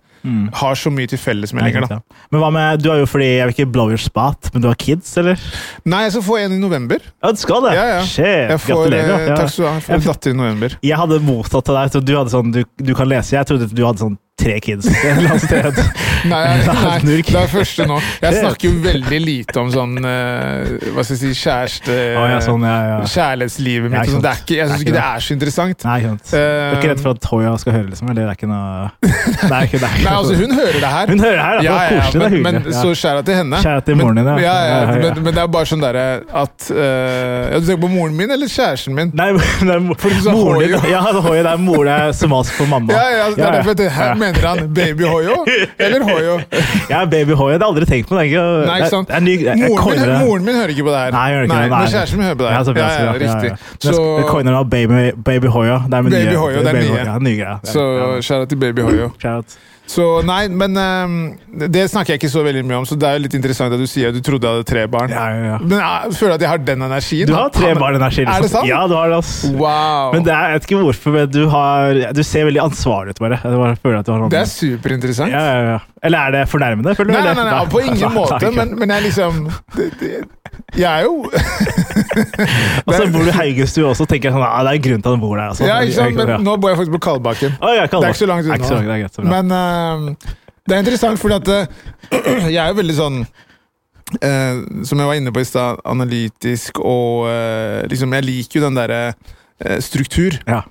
C: har så mye til felles med
B: Mm. Nei,
C: lenger,
B: ikke
C: da.
B: sant, ja. Men hva med, du har jo fordi, jeg vil ikke blow your spot, men du har kids, eller?
C: Nei, jeg skal få en i november.
B: Ja, du skal det?
C: Ja, ja.
B: Shit,
C: Jeg får,
B: gratulerer.
C: eh,
B: ja.
C: Takk skal du ha. Jeg får
B: Jeg-
C: datter i november.
B: Jeg hadde motsatt av deg. Så du hadde sånn, du, du kan lese. Jeg trodde du hadde sånn tre kids et eller annet sted.
C: Nei, nei,
B: Snurk.
C: det er første nå. Jeg snakker jo veldig lite om sånn eh, Hva skal jeg si Kjæreste...
B: Å, ja, sånn, ja, ja.
C: Kjærlighetslivet
B: Ja,
C: mitt.
B: ikke
C: og sånn. Det er
B: sant. Det er
C: ikke, jeg syns ikke det
B: ikke
C: er så interessant.
B: Nei, ikke sant. Du er ikke redd for at Toya skal høre, liksom? Eller det er ikke noe Det er ikke, det er ikke
C: Nei, altså, hun hører det her.
B: Hun hører det her, da.
C: Ja, ja,
B: Koselig, det er
C: men,
B: hyggelig.
C: men
B: Ja.
C: så skjæra til henne.
B: Shout out til moren din, ja.
C: men, ja, ja,
B: Ja, ja, ja.
C: Men, men det er bare sånn derre at eh, ja, Du tenker på moren min eller kjæresten min?
B: Nei, det er mo-
C: du sa
B: moren
C: Hoyo.
B: din. Ja, det er Hoyo, det er mor det er somalisk for mamma.
C: Ja, ja, det er derfor jeg tenker, her
B: Ja.
C: Mener han baby Hoyo eller Hoyo?
B: Ja, baby Hoyo. Det har jeg aldri tenkt på. Det er ikke,
C: Nei, ikke sant?
B: Det er ny, jeg, jeg
C: moren, min,
B: coiner det.
C: moren min hører ikke på det her.
B: Nei, jeg gjør ikke det.
C: Men kjæresten min hører på det
B: Ja, så
C: her.
B: bra,
C: Ja, ja,
B: så bra. Ja,
C: riktig.
B: ja. Men jeg- Jeg
C: Så,
B: coiner av baby, baby Hoyo. Det er min
C: Baby
B: nye-
C: Hoyo, det er
B: Baby
C: nye.
B: Hoyo, Ja, nye greia.
C: så skjæra til baby Hoyo.
B: Shout.
C: Så nei, men eh, det snakker jeg ikke så veldig mye om, så det er jo litt interessant at du sier at du trodde jeg hadde tre barn.
B: Ja, ja, ja.
C: Men jeg føler at jeg har den energien.
B: Du
C: da.
B: har tre
C: Han-
B: barn energi.
C: Er det sant?
B: Ja, du har det, ass.
C: Wow.
B: Men det er, jeg vet ikke hvorfor, men du, har, du ser veldig ansvarlig ut, bare. Jeg bare føler at du har noen-
C: Det er superinteressant.
B: ja, ja, ja. Eller er det fornærmende? føler du,
C: Nei, nei,
B: eller?
C: nei, nei, på ingen
B: Nei, nei,
C: måte,
B: ikke.
C: men, men jeg liksom det, det, Jeg er jo
B: Og så
C: Det-
B: bor du i Haugestue også, tenker jeg sånn, ah, det er grunnen til at han bor der. Altså.
C: Ja, ikke sant? Men nå bor jeg faktisk på Kalbakken.
B: Å, ja, Kalbakk.
C: Det er ikke så langt
B: Det er ikke så langt,
C: unna.
B: det er greit, så bra.
C: Men eh, det er interessant, fordi at eh, jeg er jo veldig sånn eh, Som jeg var inne på i stad, analytisk og eh, liksom Jeg liker jo den derre eh, struktur,
B: Ja.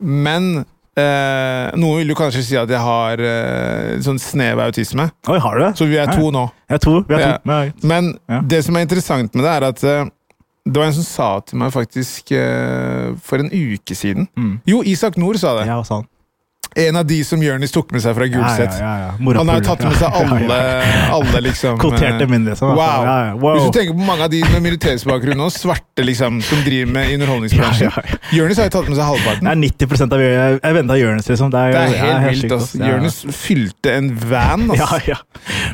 C: men eh, noen vil jo kanskje si at jeg har eh, sånn snev av autisme.
B: Oi, har du det?
C: Så vi er to nå.
B: Jeg tror, vi har
C: Ja.
B: to. Ja.
C: Men
B: Ja.
C: det som er interessant med det, er at eh, det var en som sa til meg faktisk eh, for en uke siden
B: Mm.
C: Jo, Isak Nord sa det.
B: Ja, og sånn.
C: En av de som Jonis tok med seg fra
B: Ja, ja,
C: Gulset.
B: ja, ja. Mora
C: Han har jo
B: på
C: tatt med seg
B: Ja, ja, ja.
C: alle, alle liksom eh,
B: Kvoterte mindre. Sånn, altså.
C: Wow.
B: Ja, ja. wow.
C: Hvis du tenker på mange av de med minoritetsbakgrunn og svarte liksom, som driver med i underholdningsbransjen
B: Ja, ja, ja.
C: Jonis har jo tatt med seg halvparten.
B: Det er 90 av Jeg, jeg venta Jonis, liksom. Det er,
C: det
B: jo-
C: er
B: ja,
C: helt
B: sykt,
C: vilt.
B: ass.
C: ass. Jonis fylte en van.
B: Ja,
C: ass.
B: ja.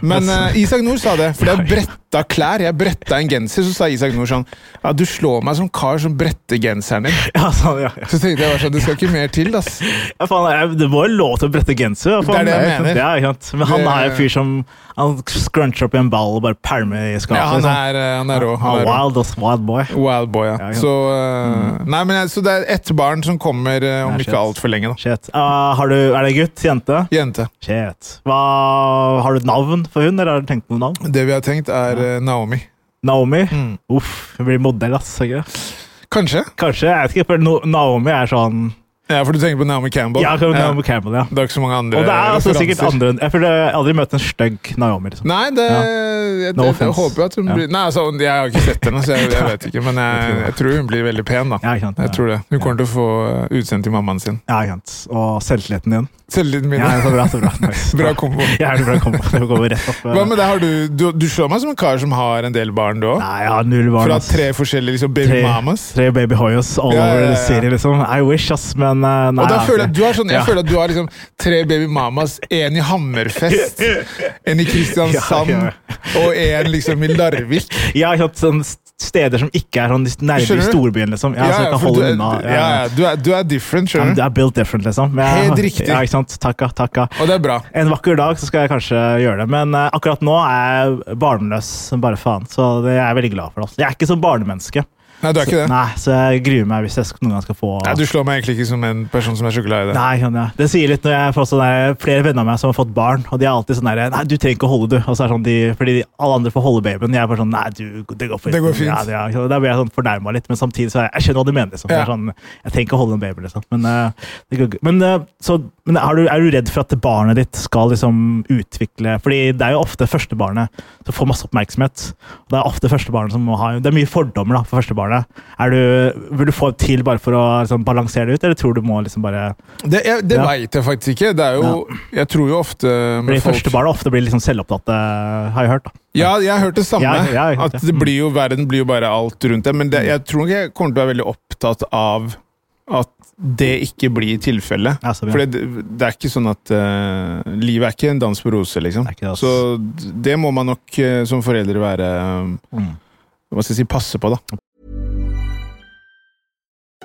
C: Men
B: Ass.
C: eh, Isak Nord sa det, for
B: Ja,
C: jeg
B: ja.
C: bretta klær. Jeg bretta en genser, så sa Isak Nord sånn Ja, du slår meg som kar som bretter genseren din.
B: ja, sånn, ja, ja.
C: Så tenkte jeg bare sånn, det skal ikke mer til, ass.
B: Ja, faen, jeg, det var jo lov til å brette genser. ja, faen.
C: Det er det jeg
B: ikke sant?
C: mener.
B: Ja, ikke sant? Men han
C: Det-
B: er en fyr som han scruncher opp i en ball og bare pælmer i skapet.
C: Ja, han
B: liksom.
C: er, eh, han er rå.
B: Han
C: Han
B: er
C: er rå.
B: wild ass wild boy.
C: Wild boy,
B: Ja,
C: ja.
B: ja.
C: Så, eh, nei, men, eh, så det er ett barn som kommer eh, om
B: Nei,
C: ikke
B: shit.
C: altfor lenge, da.
B: Shit. Ah, har du, er det gutt? Jente?
C: Jente.
B: Shit. Hva, har du et navn for hun, eller har du tenkt noe navn?
C: Det vi har tenkt, er eh, Naomi.
B: Naomi?
C: Mm.
B: Uff, hun blir modell, ass. Ikke? det?
C: Kanskje?
B: Kanskje, jeg vet ikke, for no, Naomi er sånn
C: Ja, for du tenker på Naomi Campbell?
B: Ja, kan- Naomi Campbell, ja.
C: Det er ikke så mange andre
B: Og det er altså sikkert
C: referanser.
B: andre Jeg føler jeg har aldri møtt en stygg Naomi. liksom.
C: Nei, det,
B: Ja.
C: jeg,
B: No
C: jeg, jeg
B: offense.
C: håper at hun
B: Ja.
C: blir Nei, altså, hun- Jeg har ikke sett henne, så jeg, jeg vet ikke. Men jeg, jeg tror hun blir veldig pen. da
B: Ja, ikke sant?
C: Jeg tror det. Hun kommer til å få eh, utseendet til mammaen sin.
B: Ja, ikke sant. Og selvtilliten din.
C: Selvtilliten min.
B: Ja, så bra, så bra. Nice.
C: Bra kombo.
B: Ja, det er bra kombo. Det går rett opp. eh.
C: Hva med det, har du, du, du slår meg som en kar som har en del barn, du òg?
B: Nei, jeg har null barn.
C: Fra
B: ass.
C: tre forskjellige liksom, baby
B: Tre-
C: mamas?
B: Tre baby hoyos all
C: Ja, ja,
B: over
C: ja,
B: the
C: ja.
B: city, liksom. I wish, ass, men eh, nei.
C: Og da
B: ass,
C: føler jeg, at du har sånn, jeg
B: Ja.
C: føler at du har liksom tre baby mamas. En i Hammerfest, en i Kristiansand
B: Ja,
C: og en liksom i Larvik.
B: Ja, ikke sant, sånn st- steder som ikke er sånn nærmere
C: Skjønner du?
B: storbyen, liksom. Ja, så jeg kan
C: for du,
B: holde
C: er,
B: unna.
C: ja, ja, du, er, du er different,
B: Ja, men
C: skjønner
B: Det
C: du.
B: er built different, liksom. Men jeg-
C: Helt riktig.
B: Ja, ikke sant. Takka, takka.
C: Og det er bra.
B: En vakker dag så skal jeg kanskje gjøre det, men eh, akkurat nå er jeg barnløs som bare faen. Så det er jeg veldig glad for. Altså. Jeg er ikke sånn barnemenneske.
C: Nei, du er ikke
B: Så,
C: det.
B: nei, så jeg gruer meg hvis jeg sk- noen gang skal få
C: Nei, du slår meg egentlig ikke som en person som er så glad i det.
B: Nei, skjønner jeg. Det sier litt når jeg får sånn der, flere venner av meg som har fått barn, og de er alltid sånn der Nei, du trenger ikke å holde, du. Og så er det sånn de, fordi de, alle andre får holde babyen. Jeg er bare sånn Nei, du, det går fint.
C: Det går fint.
B: Ja, det, ja. Så Da blir jeg sånn fornærma litt, men samtidig så er jeg, jeg skjønner hva du mener. Liksom. Det
C: Ja.
B: er sånn, jeg trenger ikke å holde en baby, liksom. Men, eh, det går, men, eh, så, men er, du, er du redd for at barnet ditt skal liksom utvikle Fordi det er jo ofte førstebarnet som får masse oppmerksomhet. Og det er ofte førstebarnet som må ha Det er mye fordommer da, for førstebarnet. Er du, vil du få et til bare for å liksom, balansere det ut, eller tror du må liksom bare
C: Det, jeg- det
B: Ja.
C: veit jeg faktisk ikke. Det er jo, jeg tror jo ofte med
B: Fordi
C: folk-
B: første barna ofte blir liksom selvopptatte, har jeg hørt. da.
C: Ja, jeg har hørt det samme.
B: Ja, ja, Mm. ikke sant,
C: at
B: ja.
C: det blir jo, verden blir jo bare alt rundt deg. Men det, jeg tror nok jeg kommer til å være veldig opptatt av at det ikke blir tilfellet.
B: Ja, så bra.
C: For det, det er ikke sånn at eh, Livet er ikke en dans på roser, liksom.
B: Det er ikke det, ass.
C: Så d- det må man nok eh, som foreldre være eh,
B: Mm.
C: Hva skal jeg si passe på, da.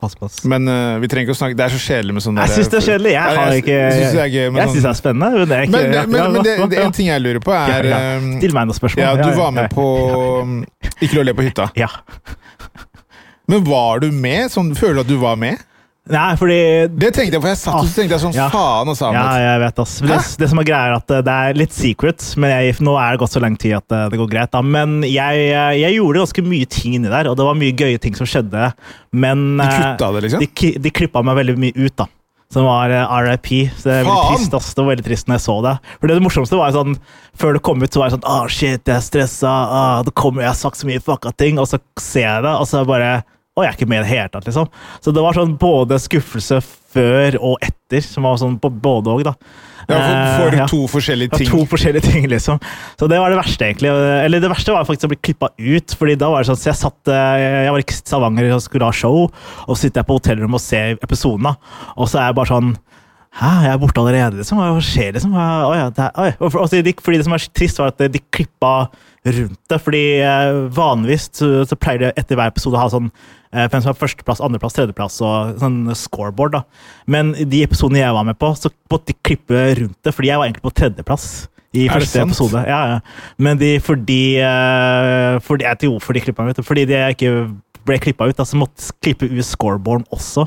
B: Pass på oss.
C: Men eh, vi trenger ikke å snakke Det er så kjedelig med sånne
B: Jeg syns det er kjedelig.
C: Ja,
B: Jeg har ikke
C: Jeg syns det er gøy med
B: Jeg syns det
C: sånn
B: er spennende. Men det er ikke
C: Men, men,
B: Ja,
C: men det,
B: ja,
C: det,
B: ja.
C: en ting jeg lurer på, er
B: Ja, ja.
C: eh,
B: Still meg noen spørsmål.
C: Ja, du
B: Ja,
C: var
B: ja,
C: med på um, Ikke lov å le på hytta.
B: Ja.
C: Men var du med? Sånn, føler du at du var med?
B: Nei, fordi
C: Det tenkte jeg, for jeg satt og så tenkte jeg sånn
B: Ah, Ja.
C: faen og sa
B: Ja,
C: ja,
B: jeg vet ass. Men Det, det som er greia er at eh, det er litt secret, men jeg, nå er det gått så lang tid at eh, det går greit. Da. Men jeg, eh, jeg gjorde ganske mye ting inni der, og det var mye gøye ting som skjedde. Men
C: De
B: eh,
C: kutta det, liksom?
B: de, ki- de klippa meg veldig mye ut, da. Som var eh, RIP. Så det er veldig
C: Faen!
B: trist, ass. Det var veldig trist når jeg så det. For det, det morsomste var jo sånn Før det kom ut, så var jeg sånn ah, shit, jeg er stressa. ah, det kommer, jeg har sagt så mye fucka ting. Og så ser jeg det, og så bare Å, jeg er ikke med i det hele tatt, liksom. Så det var sånn både skuffelse før og etter, som var sånn på både og, da.
C: ja, for,
B: Eh,
C: for
B: ja.
C: to forskjellige
B: Ja,
C: ting.
B: to forskjellige ting, liksom. Så det var det verste, egentlig. Eller det verste var faktisk å bli klippa ut. fordi da var det sånn, så Jeg satt, eh, jeg var i Stavanger og skulle ha show, og så sitter jeg på hotellrommet og ser episoden. da. Og så er jeg bare sånn Hæ, jeg er borte allerede, liksom? Hva skjer, liksom? Hva, oi, ja, det, er- oi. Og for- og så Altså, de, fordi det som er så trist, var at de klippa rundt det. fordi eh, vanligvis så, så pleier de etter hver episode å ha sånn eh, hvem som er førsteplass, andreplass, tredjeplass og sånn scoreboard. da. Men i de episodene jeg var med på, så måtte de klippe rundt det, fordi jeg var egentlig på tredjeplass. I
C: Er det
B: første
C: sant?
B: episode. Ja, ja. Men de, fordi, eh, fordi Jeg vet ikke hvorfor de klippa meg ut. Fordi de ikke ble klippa ut, da, så måtte de klippe ut scoreboarden også.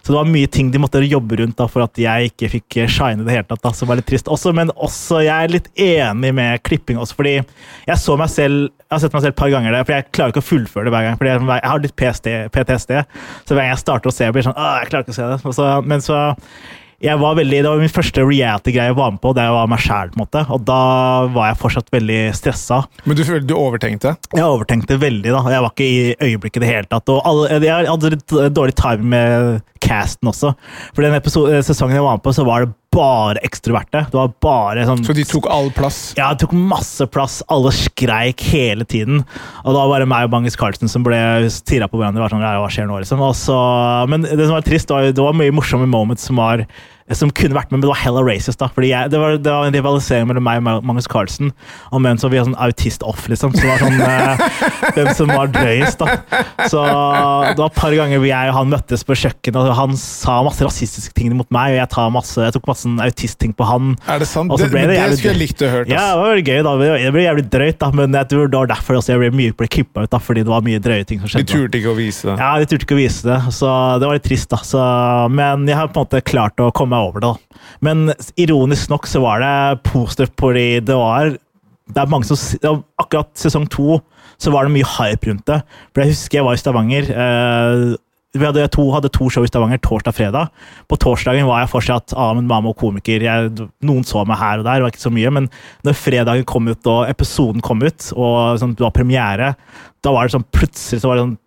B: Så det var mye ting de måtte jobbe rundt da, for at jeg ikke fikk eh, shine i det hele tatt. da, som var litt trist også, Men også, jeg er litt enig med klipping også, fordi jeg så meg selv, jeg har sett meg selv et par ganger der, for jeg klarer ikke å fullføre det hver gang. fordi Jeg, jeg har litt PST, PTSD, så hver gang jeg starter å se, jeg blir sånn Åh, jeg klarer ikke å se det. Og så, men så jeg var veldig, Det var min første reality-greie jeg var med på, der jeg var meg sjæl. Og da var jeg fortsatt veldig stressa.
C: Men du føler du overtenkte?
B: Jeg overtenkte veldig, da. Jeg var ikke i øyeblikket i det hele tatt. Og alle, jeg hadde litt dårlig time med casten også. For den episode, sesongen jeg var med på, så var det bare ekstroverte. Det var bare sånn
C: Så de tok all plass?
B: ja, det tok masse plass. Alle skreik hele tiden. Og da var det meg og Magnus Carlsen som ble stirra på hverandre. Var sånn, "Ja, hva skjer nå, liksom? og så, Men det som var trist, var jo- det var mye morsomme moments som, var, som kunne vært med, men det var hella racist. da, fordi jeg, det, var, det var en rivalisering mellom meg og Ma- Magnus Carlsen om hvem som var sånn autist-off, liksom. Så det var sånn, eh, hvem som var drøyest, da. Så det var et par ganger hvor jeg og han møttes på kjøkkenet, og han sa masse rasistiske ting mot meg, og jeg, tar masse, jeg tok masse sånn autist-ting på han.
C: Er det sant?
B: Og så
C: Det,
B: ble
C: men det,
B: jævlig
C: skulle jeg
B: drøyt.
C: likt å høre.
B: Ja, det var veldig gøy, da. men Det ble jævlig drøyt, da. Men jeg tror det var derfor også jeg ble mye ble klippa ut, da, fordi det var mye drøye ting som
C: De
B: skjedde. da.
C: turte ikke å vise det.
B: Ja, De turte ikke å vise det, så det var litt trist. da. Så, men jeg har på en måte klart å komme meg over det. da. Men ironisk nok så var det positivt, fordi det var det er mange som, s- det var Akkurat sesong to så var det mye hype rundt det. For Jeg husker jeg var i Stavanger. Eh, vi hadde to, hadde to show i Stavanger torsdag og fredag. På torsdagen var jeg fortsatt ah, Ahmed Mamo komiker. Jeg, noen så meg her og der, det var ikke så mye, men når fredagen kom ut og episoden kom ut, og sånn, det var premiere, da var det sånn plutselig så var det sånn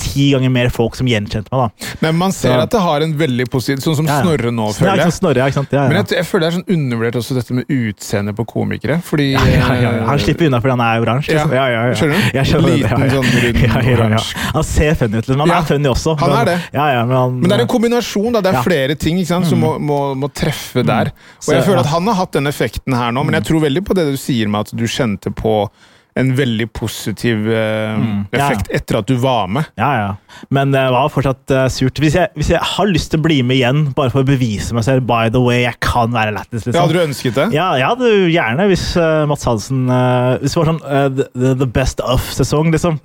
B: ti ganger mer folk som gjenkjente meg. da.
C: Men man ser
B: Ja.
C: at det har en veldig positiv Sånn som
B: Ja, ja.
C: Snorre nå,
B: Ja,
C: føler
B: ikke sant,
C: jeg.
B: Snorre, ja, ikke sant? Ja,
C: Men
B: ja.
C: jeg, jeg føler det er sånn undervurdert også dette med utseendet på komikere. Fordi
B: Ja, ja, ja. Han slipper unna fordi han er oransje.
C: Ja.
B: liksom. Ja, ja, ja.
C: Skjønner du?
B: Jeg skjønner det, ja,
C: Liten
B: ja.
C: sånn rund
B: Ja, ja, ja.
C: oransje.
B: Han ser funny ut, liksom. Han
C: Ja.
B: er funny også.
C: Han er
B: men-
C: det.
B: Ja, ja, men han,
C: Men det er en kombinasjon. da, Det er
B: Ja. Mm.
C: flere ting ikke sant, som må, må, må treffe der. Og
B: Så,
C: jeg føler
B: ja. Mm.
C: at han har hatt den effekten her nå, men jeg tror veldig på det du sier med at du kjente på en veldig positiv eh,
B: Mm. Ja.
C: effekt etter at du var med.
B: Ja, ja. Men det var fortsatt eh, surt. Hvis jeg, hvis jeg har lyst til å bli med igjen, bare for å bevise meg selv By the way, jeg kan være lættis.
C: Ja,
B: Liksom.
C: hadde du ønsket det?
B: Ja, jeg hadde jo gjerne, hvis eh, Mats Hansen eh, Hvis det var sånn eh, the, the best of-sesong, liksom.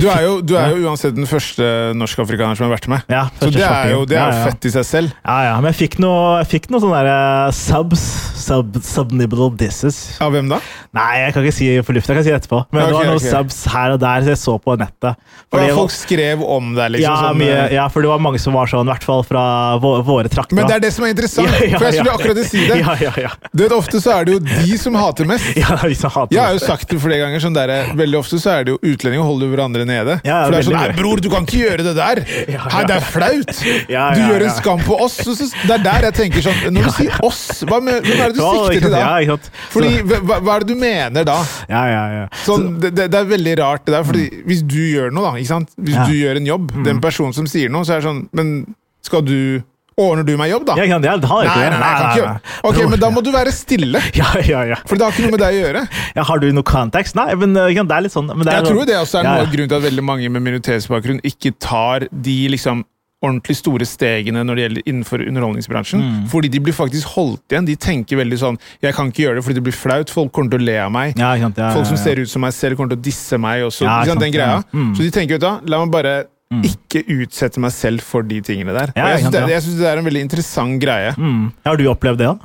B: Der
C: du er,
B: fikk-
C: jo, du er jo uansett den første norsk-afrikaneren som har vært med.
B: Ja,
C: Så
B: første
C: det er
B: svartingen.
C: jo, det er
B: Ja,
C: jo
B: ja.
C: fett i seg selv.
B: Ja, ja, men jeg fikk noe, jeg fikk noe sånne der, eh, subs. Sub, subnibble disses.
C: Av hvem da?
B: Nei, jeg kan ikke si på lufta. Jeg kan si det etterpå. Men det
C: Ok,
B: var noen
C: ok.
B: subs her og der så jeg så på nettet. Fordi
C: Ja,
B: jeg var-
C: folk skrev om deg, liksom.
B: ja,
C: sånn,
B: mye,
C: eh,
B: ja, for det var mange som var sånn, i hvert fall fra vå- våre trakter.
C: Men
B: da.
C: det er det som er interessant,
B: Ja, ja,
C: for jeg skulle
B: ja.
C: akkurat si det.
B: Ja, ja, ja.
C: Du vet, Ofte så er det jo de som hater mest.
B: Ja, vi som hater
C: Jeg har jo
B: det.
C: sagt det flere ganger. Sånn der, veldig ofte så er det jo utlendinger som holder hverandre nede.
B: Ja,
C: for det er sånn
B: veldig
C: Nei,
B: mye.
C: bror, du kan ikke gjøre det der!
B: ja.
C: Hei, det er flaut!
B: Ja,
C: du
B: ja,
C: gjør en
B: ja.
C: skam på oss! Så, så, det er der jeg tenker sånn Når du sier oss, hva med, hvem er det du
B: Ja, ikke
C: sikter til
B: sant,
C: da?
B: ja, ikke sant.
C: Fordi,
B: Så-
C: hva, hva- hva er det du mener da?
B: Ja, ja, ja.
C: Sånn, det, det, det er veldig rart, det der. Fordi hvis du gjør noe, da, ikke sant? hvis
B: Mm. Ja. Mm.
C: du gjør en jobb, den personen som sier noe, så er det sånn Men skal du Ordner du meg jobb, da?
B: Ja, ikke sant, jeg har
C: Nei,
B: ikke
C: nei,
B: det.
C: nei, jeg kan ikke gjøre Ok, men da må du være stille,
B: Ja, ja, ja.
C: for det har ikke noe med deg å gjøre.
B: ja. Har du noe context? Nei, men uh, ikke sant, det er litt sånn men det er
C: Jeg tror
B: sånn-
C: det også er
B: Ja,
C: noe
B: ja.
C: av grunnen til at veldig mange med minoritetsbakgrunn ikke tar de liksom ordentlig store stegene når det gjelder innenfor underholdningsbransjen.
B: Mm.
C: Fordi de blir faktisk holdt igjen. De tenker veldig sånn Jeg kan ikke gjøre det fordi det blir flaut. Folk kommer til å le av meg.
B: Ja, ikke sant, ja,
C: Folk som
B: ja, ja.
C: ser ut som meg selv, kommer til å disse meg også.
B: Ja,
C: ikke sant, den
B: ikke
C: greia.
B: sant, ja. Mm.
C: Så de tenker ut da, la meg bare ikke utsette meg selv for de tingene der.
B: Ja,
C: Og jeg
B: ikke sant,
C: syns det,
B: ja.
C: jeg synes det er en veldig interessant greie.
B: Mm. Har du opplevd det, da?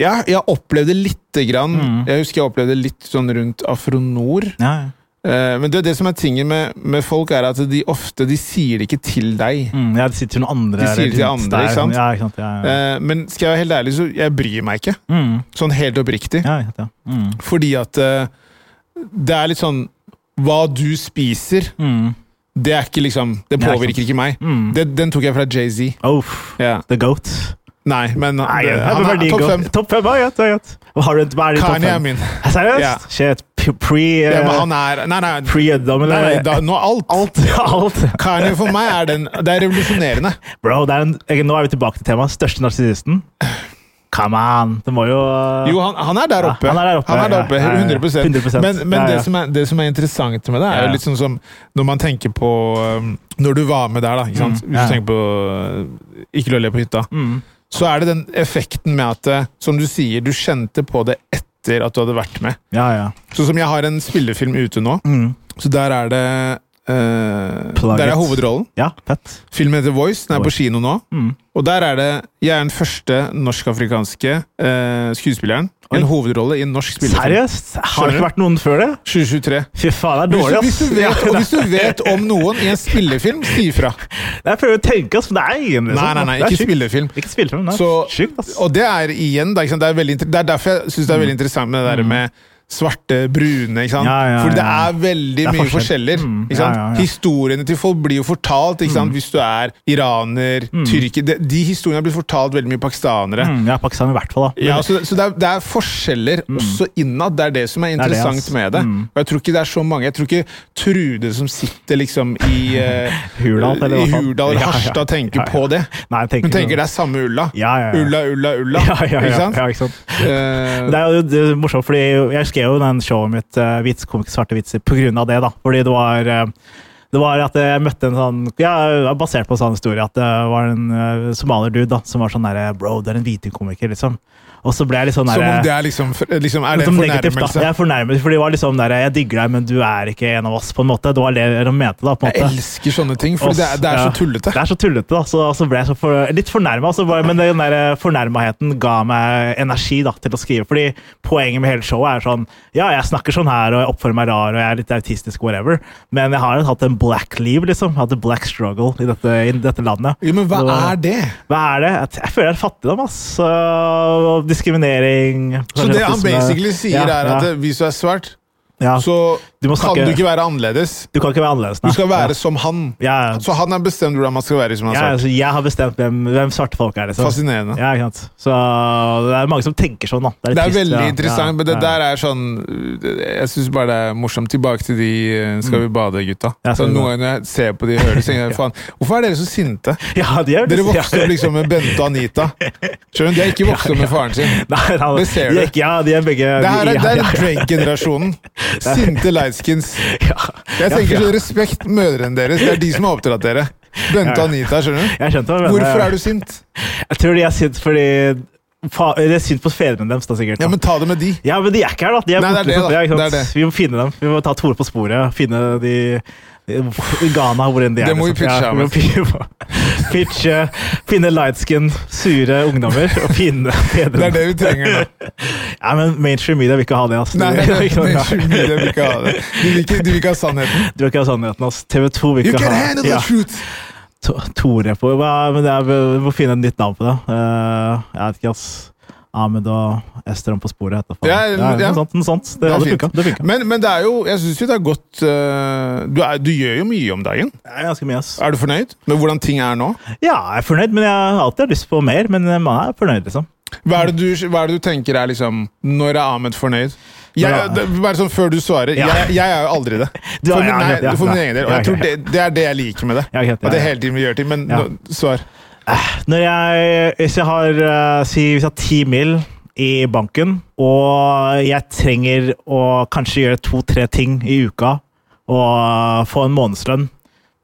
C: Ja, jeg opplevde lite grann.
B: Mm.
C: Jeg husker jeg opplevde litt sånn rundt Afronor.
B: Ja, ja.
C: Eh, Men det, det som er tingen med, med folk, er at de ofte de sier det ikke til deg.
B: Mm, ja, det sitter noen andre
C: De sier det til
B: rundt
C: andre, ikke sant?
B: Ja, ikke sant? Ja, ja.
C: Eh, Men skal jeg være helt ærlig, så jeg bryr meg ikke.
B: Mm.
C: Sånn helt oppriktig.
B: Ja, ikke sant, ja. Mm.
C: Fordi at eh, det er litt sånn Hva du spiser,
B: Mm.
C: det er ikke liksom Det
B: Ja, ikke Mm.
C: påvirker ikke meg. Det, den tok jeg fra Jay-Z.
B: Uff.
C: Ja.
B: The Goat.
C: Nei, men
B: Nei,
C: det,
B: ja,
C: han
B: men
C: er
B: verdi
C: topp
B: goat.
C: fem.
B: Topp fem, ja, greit, ja, greit. Hva har du- hva er det i topp
C: Kanye er
B: fem?
C: min.
B: Ja, Seriøst?
C: Ja.
B: Shit. p- Pre... eh,
C: Ja, men han er Nei, nei.
B: Pre-jøddom,
C: nei,
B: eller?
C: nei da, nå alt.
B: alt, alt.
C: Kanye for meg er den Det er revolusjonerende.
B: Bro, det er en, jeg, nå er vi tilbake til temaet. Største narsissisten. Come on! Det må jo eh,
C: Jo, han, han er der
B: Ja,
C: oppe.
B: han er der oppe,
C: Han er der
B: ja,
C: oppe,
B: ja, ja, ja.
C: 100,
B: 100%.
C: Men, men
B: Ja, ja.
C: Det, som er, det som er interessant med det, er
B: Ja, ja.
C: jo litt sånn som når man tenker på um, Når du var med der, da. Ikke sant? Hvis
B: Mm, ja. Mm.
C: du tenker på uh, Ikke lov å le på hytta. Så er det den effekten med at, uh, som du sier, du kjente på det etter at du hadde vært med.
B: Ja, ja. Mm.
C: Sånn som jeg har en spillefilm ute nå, så der er det uh,
B: Plug
C: Der er
B: it.
C: hovedrollen.
B: Ja, fett.
C: Filmen heter Voice. Den er på
B: Voice. Mm.
C: kino nå. Og der er det Jeg er den første norsk-afrikanske eh, skuespilleren.
B: Oi.
C: En hovedrolle i en norsk spillefilm.
B: Seriøst? Har det
C: Skjønner.
B: ikke vært noen før det?
C: 2023.
B: Fy faen, det er
C: Hvis du,
B: dårlig, ass.
C: hvis, du vet, og hvis du vet om noen i en spillefilm, si ifra.
B: Jeg prøver å tenke, ass, men det er ingen. liksom.
C: Nei, nei, nei,
B: Det er
C: ikke
B: sjukt.
C: spillefilm.
B: Ikke spillefilm, nei.
C: Så-
B: Sjukt, ass. Mm.
C: Og det er igjen Det er, ikke sant, det er, veldig, inter- det er derfor jeg syns det er veldig interessant med det der med svarte, brune ikke sant?
B: Ja, ja,
C: Fordi det
B: ja.
C: er veldig
B: Det er
C: mye
B: forskjell.
C: forskjeller.
B: Mm,
C: Ikke sant?
B: ja, Mm. ja, ja.
C: Historiene til folk blir jo fortalt ikke sant? hvis du er iraner, tyrker de, de historiene har blitt fortalt veldig mye pakistanere.
B: Mm, ja, Pakistan i hvert fall, da.
C: Ja, så, så det, er, det er forskjeller også innad. Det er det som er
B: er Mm. det,
C: interessant
B: ass. Mm.
C: med det. Og jeg tror ikke det er så mange. Jeg tror ikke Trude som sitter liksom i eh,
B: Hurdal, eller
C: i
B: hva faen?
C: Hurdal
B: Ja,
C: eller
B: ja.
C: Harstad, tenker
B: Ja, ja.
C: på det.
B: Nei, jeg tenker
C: Hun tenker
B: ikke
C: det er samme ulla.
B: Ja, ja, ja.
C: Ulla, ulla, ulla.
B: Ja, ja, ja,
C: Ikke sant?
B: Ja, ikke sant?
C: Eh,
B: Det er jo det er morsomt, fordi jeg skrev jo den showet mitt eh, Vits, komik, svarte vitser på grunn av det. da. Fordi det var, eh, det var at jeg møtte en sånn ja, Basert på en sånn historie at det var en eh, somalier dude da, som var sånn derre Bro, du er en hviting komiker, liksom. Og så ble jeg litt sånn
C: som om det
B: derre
C: er liksom, liksom Er det en
B: som negativt, da.
C: fornærmelse?
B: Jeg er fornærmet, for det var liksom der, jeg digger deg, men du er ikke en av oss, på en måte. Det var det de mente, da. på en
C: Jeg
B: måte.
C: elsker sånne ting, for det er, det er
B: Ja.
C: så tullete.
B: Det er så tullete, da. Så, så ble jeg så for, litt fornærma. Men den der fornærmaheten ga meg energi da, til å skrive. Fordi poenget med hele showet er sånn Ja, jeg snakker sånn her, og jeg oppfører meg rar, og jeg er litt autistisk, whatever. Men jeg har hatt en black liv, liksom. Jeg har hatt en black struggle i dette, i dette landet.
C: Jo, men hva er det?
B: Hva er det? Jeg, jeg føler det er fattigdom, ass. Så, og diskriminering
C: Så det han
B: rasisme.
C: basically sier,
B: Ja,
C: er
B: ja,
C: at eh, hvis du er svart,
B: ja.
C: så
B: Du må
C: kan
B: snakke-
C: du ikke være annerledes.
B: Du kan ikke være annerledes,
C: Du skal være som han.
B: Ja, ja.
C: Så han har bestemt hvordan man skal være som han
B: Ja,
C: har sagt.
B: altså, jeg har bestemt hvem, hvem svarte folk er. Liksom.
C: Fascinerende.
B: Ja, ikke sant? Så det er mange som tenker sånn. Da. litt
C: Det er
B: trist,
C: veldig
B: ja.
C: interessant,
B: Ja,
C: men det
B: ja.
C: der er sånn Jeg syns bare det er morsomt. Tilbake til de eh, Skal vi bade-gutta.
B: Mm. Ja, Skal
C: Så
B: vi
C: Noen
B: bade.
C: ganger når jeg ser på de og hører det, så tenker jeg faen, hvorfor er dere så sinte?
B: ja, de er,
C: Dere vokste opp liksom med Bente og Anita. Skjønner du? De er ikke vokst opp med faren sin.
B: Nei, nei,
C: Det ser
B: de
C: du.
B: er ikke, ja, de er begge
C: Det her
B: ja,
C: er, det
B: ja,
C: er Drake-generasjonen. Sinte lightskins.
B: ja.
C: Jeg
B: Ja,
C: tenker
B: ja.
C: så respekt mødrene deres. Det er de som har oppdratt dere. Bente og Anita, skjønner du?
B: Jeg skjønte hva du mener.
C: Hvorfor er du sint?
B: Jeg tror de er sint fordi fa, Det er synd på fedrene deres, da, sikkert.
C: Ja, men ta det med de.
B: Ja, men de er ikke her, da. De er
C: Nei, det er
B: borte
C: det,
B: fra-
C: da.
B: ja, ikke sant?
C: Det er det.
B: Vi må finne dem. Vi må ta Tore på sporet. Finne de, de i Ghana, hvor enn de er.
C: Det må vi
B: liksom.
C: pitche
B: Ja,
C: ham.
B: vi må- vi må- pitche, finne lightskin, sure ungdommer og finne
C: Det
B: bedre
C: er det vi trenger nå.
B: Ja, men mainstream media vil ikke ha det, ass.
C: Nei, nei,
B: Det
C: nei,
B: er ikke noe
C: nei,
B: bra.
C: skjul det, vi ikke ha det. Du vil ikke, du vil ikke ha sannheten.
B: Du vil ikke ha sannheten, altså. ass. TV 2 vil
C: You
B: ikke
C: can
B: ha
C: handle the
B: Ja,
C: truth!
B: To- Tore på hva, men det er, Vi må finne et nytt navn på det. Eh, jeg vet ikke, ass. Ahmed og Esther om på sporet. heter det faen.
C: Ja,
B: Ja,
C: ja.
B: Noe sånt. Noe sånt. Det,
C: Det er
B: hadde
C: fint.
B: funka. Det funka.
C: Men, men det er jo, jeg syns jo det er godt øh, du, er, du gjør jo mye om dagen.
B: Det er ganske mye, ass.
C: Er du fornøyd med hvordan ting er nå?
B: Ja, jeg er fornøyd, men jeg har alltid lyst på mer. Men man er fornøyd, liksom.
C: Hva er det du, hva er det du tenker er liksom Når er Ahmed fornøyd? Jeg,
B: Når er-
C: det, bare sånn før du svarer.
B: Ja.
C: Jeg, jeg er jo aldri det.
B: Du er-
C: For, min-
B: ja,
C: nei,
B: ja,
C: for min
B: ja.
C: egen del. Og
B: Ja,
C: jeg tror
B: ja,
C: det, det er det jeg liker med det.
B: Ja, greit, ja,
C: At det
B: ja.
C: hele tiden vi gjør ting. Men
B: Ja.
C: nå- svar.
B: Når jeg, hvis jeg har eh, si, hvis jeg har ti mil i banken, og jeg trenger å kanskje gjøre to-tre ting i uka og få en månedslønn,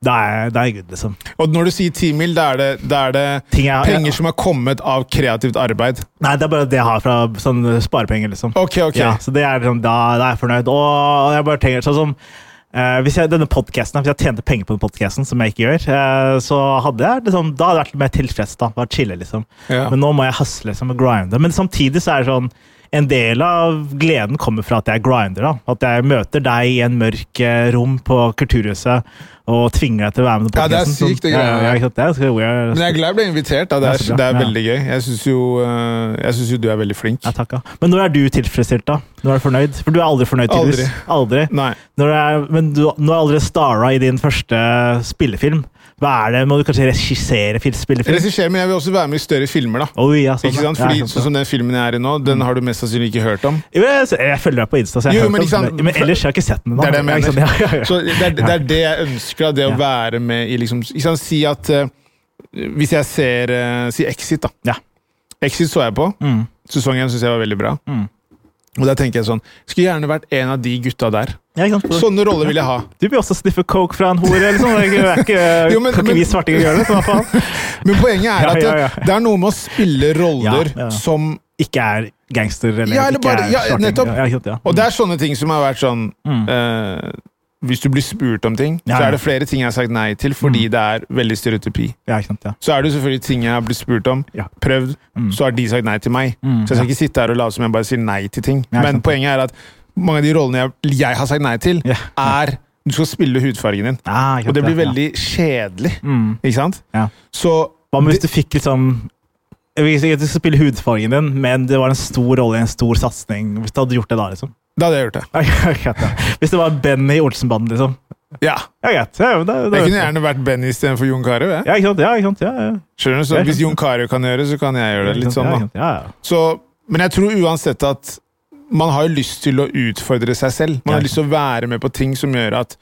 B: da er, da er jeg good, liksom.
C: Og når du sier 10 mil, da er det, da er det
B: Ting jeg-
C: penger som er kommet av kreativt arbeid.
B: Nei, det er bare det jeg har fra sånn sparepenger, liksom.
C: Ok, ok.
B: Ja, så det er liksom, da, da er jeg fornøyd. Og jeg bare tenker sånn som eh, hvis jeg, denne podcasten, hvis jeg tjente penger på den podcasten, som jeg ikke gjør, eh, så hadde jeg liksom, da hadde jeg vært mer tilfreds. da, vært chille liksom.
C: Ja.
B: Men nå må jeg hustle liksom, og grinde. Men samtidig så er det sånn en del av gleden kommer fra at jeg grinder. da, At jeg møter deg i en mørk eh, rom på Kulturhuset og tvinger deg til å være med på
C: Ja, det er
B: podcasten.
C: sykt, det
B: ja, ja,
C: greiene
B: ja,
C: der.
B: ikke sant? Det er ganske weird.
C: Men jeg er glad jeg ble invitert. Da. Det,
B: Det er så
C: er, det
B: bra,
C: er
B: ja.
C: veldig gøy. Jeg syns jo, øh, jeg synes jo du er veldig flink.
B: Ja, takk, ja. Men når er du tilfredsstilt, da? Når er du fornøyd? For du er aldri fornøyd, tydeligvis. Aldri.
C: Nei.
B: Når du er, men du, nå er aldri stara i din første spillefilm. Hva er det? Må du kanskje regissere fil- spillefilm?
C: Regissør, men jeg vil også være med i større filmer. da
B: Oi, ja, sånn,
C: Ikke
B: ja.
C: sant? Fordi
B: Ja,
C: Sånn som den filmen jeg er i nå, den har du mest sannsynlig ikke hørt om.
B: Jo, jeg, jeg følger deg på Insta, så jeg
C: Jo,
B: har hørt
C: men
B: om
C: ikke
B: den.
C: sant?
B: men ellers har jeg ikke sett den. da.
C: Det er det jeg
B: Ja, ikke
C: mener.
B: sant? Ja, ja, ja.
C: Så det er, det er det jeg ønsker, da, det å
B: Ja.
C: være med i liksom ikke sant? Si at eh, Hvis jeg ser eh, Si Exit, da.
B: Ja.
C: Exit så jeg på.
B: Mm.
C: Sesongen syns jeg var veldig bra.
B: Mm.
C: Og da tenker jeg sånn Skulle gjerne vært en av de gutta der.
B: Ja, ikke sant?
C: Sånne roller vil jeg ha.
B: Du vil også sniffe coke fra en hore, eller sånn. Det er ikke, det er ikke,
C: Jo, men-
B: kan ikke
C: men-
B: vi svartinger gjøre det? så hva faen?
C: Men poenget er
B: Ja,
C: at
B: ja, ja.
C: det- det er noe med å spille roller
B: Ja, ja.
C: som
B: Ikke er gangster, eller,
C: Ja, eller
B: ikke
C: bare-
B: er
C: ja,
B: svarting.
C: nettopp.
B: Ja, ikke sant, ja.
C: Og det er sånne ting som har vært sånn eh, Hvis du blir spurt om ting,
B: Mm. Ja,
C: så
B: ja. Mm.
C: er det flere ting jeg har sagt nei til fordi det er veldig stereotypi.
B: ja, ikke sant, ja.
C: Så er det jo selvfølgelig ting jeg har blitt spurt om,
B: Ja. Mm.
C: prøvd, så har de sagt nei til meg. så jeg skal ikke sitte her og late som jeg bare sier nei til ting.
B: Ja,
C: Men
B: sant.
C: poenget er at mange av de rollene jeg, jeg har sagt nei til,
B: Ja.
C: er Du skal spille hudfargen din.
B: Ah, ikke sant,
C: Og det blir
B: ja. Mm.
C: veldig kjedelig, ikke sant?
B: Ja.
C: Så
B: Hva med hvis du fikk liksom jeg vil ikke si at du skal spille hudfargen din, men det var en stor rolle i en stor satsing. Hvis du hadde gjort det da, liksom.
C: da hadde jeg gjort det.
B: Ja, greit, ja. Hvis det var Benny i Olsenbanden, liksom.
C: Ja.
B: Ja, greit. Ja, men da- da-
C: Jeg kunne gjerne vært Benny istedenfor Jon Carew. jeg.
B: Ja, ikke sant? Ja, ikke sant? Ja, ja.
C: Skjønner du? Så
B: Ja,
C: Hvis Jon Carew kan gjøre det, så kan jeg gjøre det. Litt sånn,
B: ja,
C: da.
B: ikke sant? Ja, ja.
C: Så, men jeg tror uansett at man har jo lyst til å utfordre seg selv. Man har
B: Ja.
C: lyst til å være med på ting som gjør at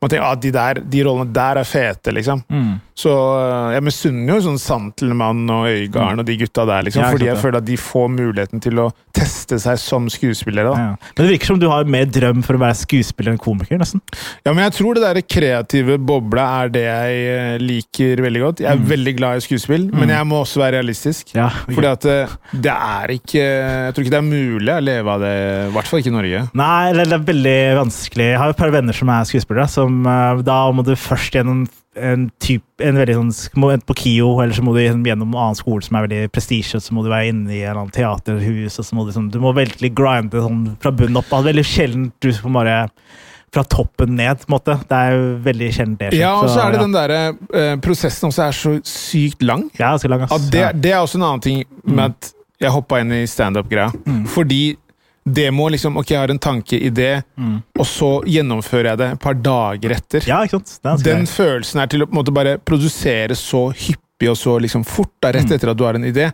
C: man tenker at ah, de, der, de rollene der er fete, liksom.
B: Mm.
C: Så øh, jeg misunner jo sånn Santelmann og Øygarden og de gutta der, liksom.
B: Mm. Ja, ikke
C: fordi jeg
B: sant,
C: føler at de får muligheten til å teste seg som skuespillere. Da.
B: Ja. Men det virker som du har mer drøm for å være skuespiller enn komiker, nesten.
C: Ja. men jeg tror det der kreative bobla er det jeg øh, liker veldig godt. Jeg er veldig glad i skuespill, men jeg må også være realistisk.
B: Mm. Ja,
C: Fordi at øh, det er ikke Jeg tror ikke det er mulig å leve av det, i hvert fall ikke i Norge.
B: Nei, eller det er veldig vanskelig. Jeg har jo et par venner som er skuespillere. Som, eh, da må du først gjennom en typ, en veldig sånn, sk- må enten på KIO, eller så må du gjennom gjennom en annen skole som er veldig prestisje, og så må du være inne i et eller annet teaterhus. og så må Du, liksom, du må veldig grinde sånn, fra bunnen opp. Det er veldig sjelden du får bare fra toppen ned. på en måte. Det er jo veldig sjelden det skjer.
C: Ja, og så er det
B: ja.
C: den derre eh, prosessen også er så sykt lang.
B: Ja, Mm. ganske lang, ass.
C: At det,
B: ja.
C: det er også en annen ting med at jeg hoppa inn i standup-greia.
B: Mm.
C: Fordi det må liksom Ok, jeg har en tanke i det,
B: Mm.
C: og så gjennomfører jeg det et par dager etter.
B: ja, ikke sant? Det er ganske
C: Den
B: greit.
C: følelsen er til å på en måte bare produsere så hyppig og så liksom fort, da, rett
B: Mm.
C: etter at du har en idé.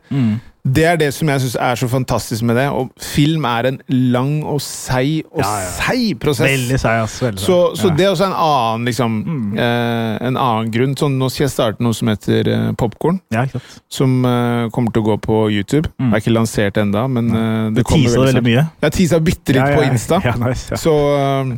C: Det er det som jeg syns er så fantastisk med det. Og film er en lang og seig og
B: Ja, ja.
C: seig prosess.
B: Veldig seig, ass. Veldig
C: Så,
B: seig.
C: så
B: ja. Mm.
C: det er også en annen, liksom, eh, en annen grunn. Sånn, nå skal jeg starte noe som heter eh, Popkorn,
B: Ja, ikke sant?
C: som eh, kommer til å gå på YouTube. Det er ikke lansert ennå, men eh, det
B: Mm. Du
C: kommer
B: teaser
C: veldig
B: veldig
C: snart.
B: mye.
C: Jeg teasa bitte
B: Ja,
C: litt
B: ja,
C: på Insta,
B: Ja, nice, ja.
C: så eh,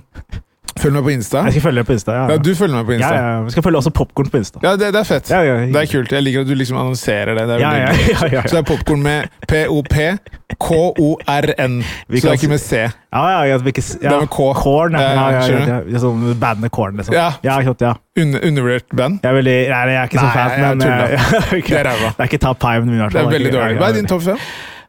C: Følg meg på Insta.
B: Jeg skal følge deg på Insta. Ja,
C: Ja, du følger meg på
B: ja,
C: Insta.
B: ja. Vi skal følge også Popkorn på Insta.
C: Ja, det, det er fett.
B: Ja, ja, ja.
C: Det er kult. Jeg liker at du liksom annonserer det. det
B: Ja,
C: er
B: ja,
C: veldig
B: ja, ja, ja.
C: kult. Så det er popkorn med P-O-P-K-O-R-N. Så
B: Vi
C: det
B: kan
C: er ikke med C.
B: Ja, ja, ja, vi ikke, s- ja.
C: Det er med K.
B: Korn, ja.
C: Ja,
B: ja, ja,
C: skjønner
B: ja, ja. Sånn bandet Korn, liksom.
C: Ja.
B: ja, ikke sant, ja.
C: Un undervurdert band.
B: Jeg er, veldig, nei, jeg er ikke så
C: Nei,
B: fan,
C: jeg
B: men
C: tuller.
B: eh,
C: Det er ræva.
B: Det er ikke top five min, i hvert
C: Det
B: fall.
C: er veldig
B: ikke-
C: dårlig. Hva er din topp fem?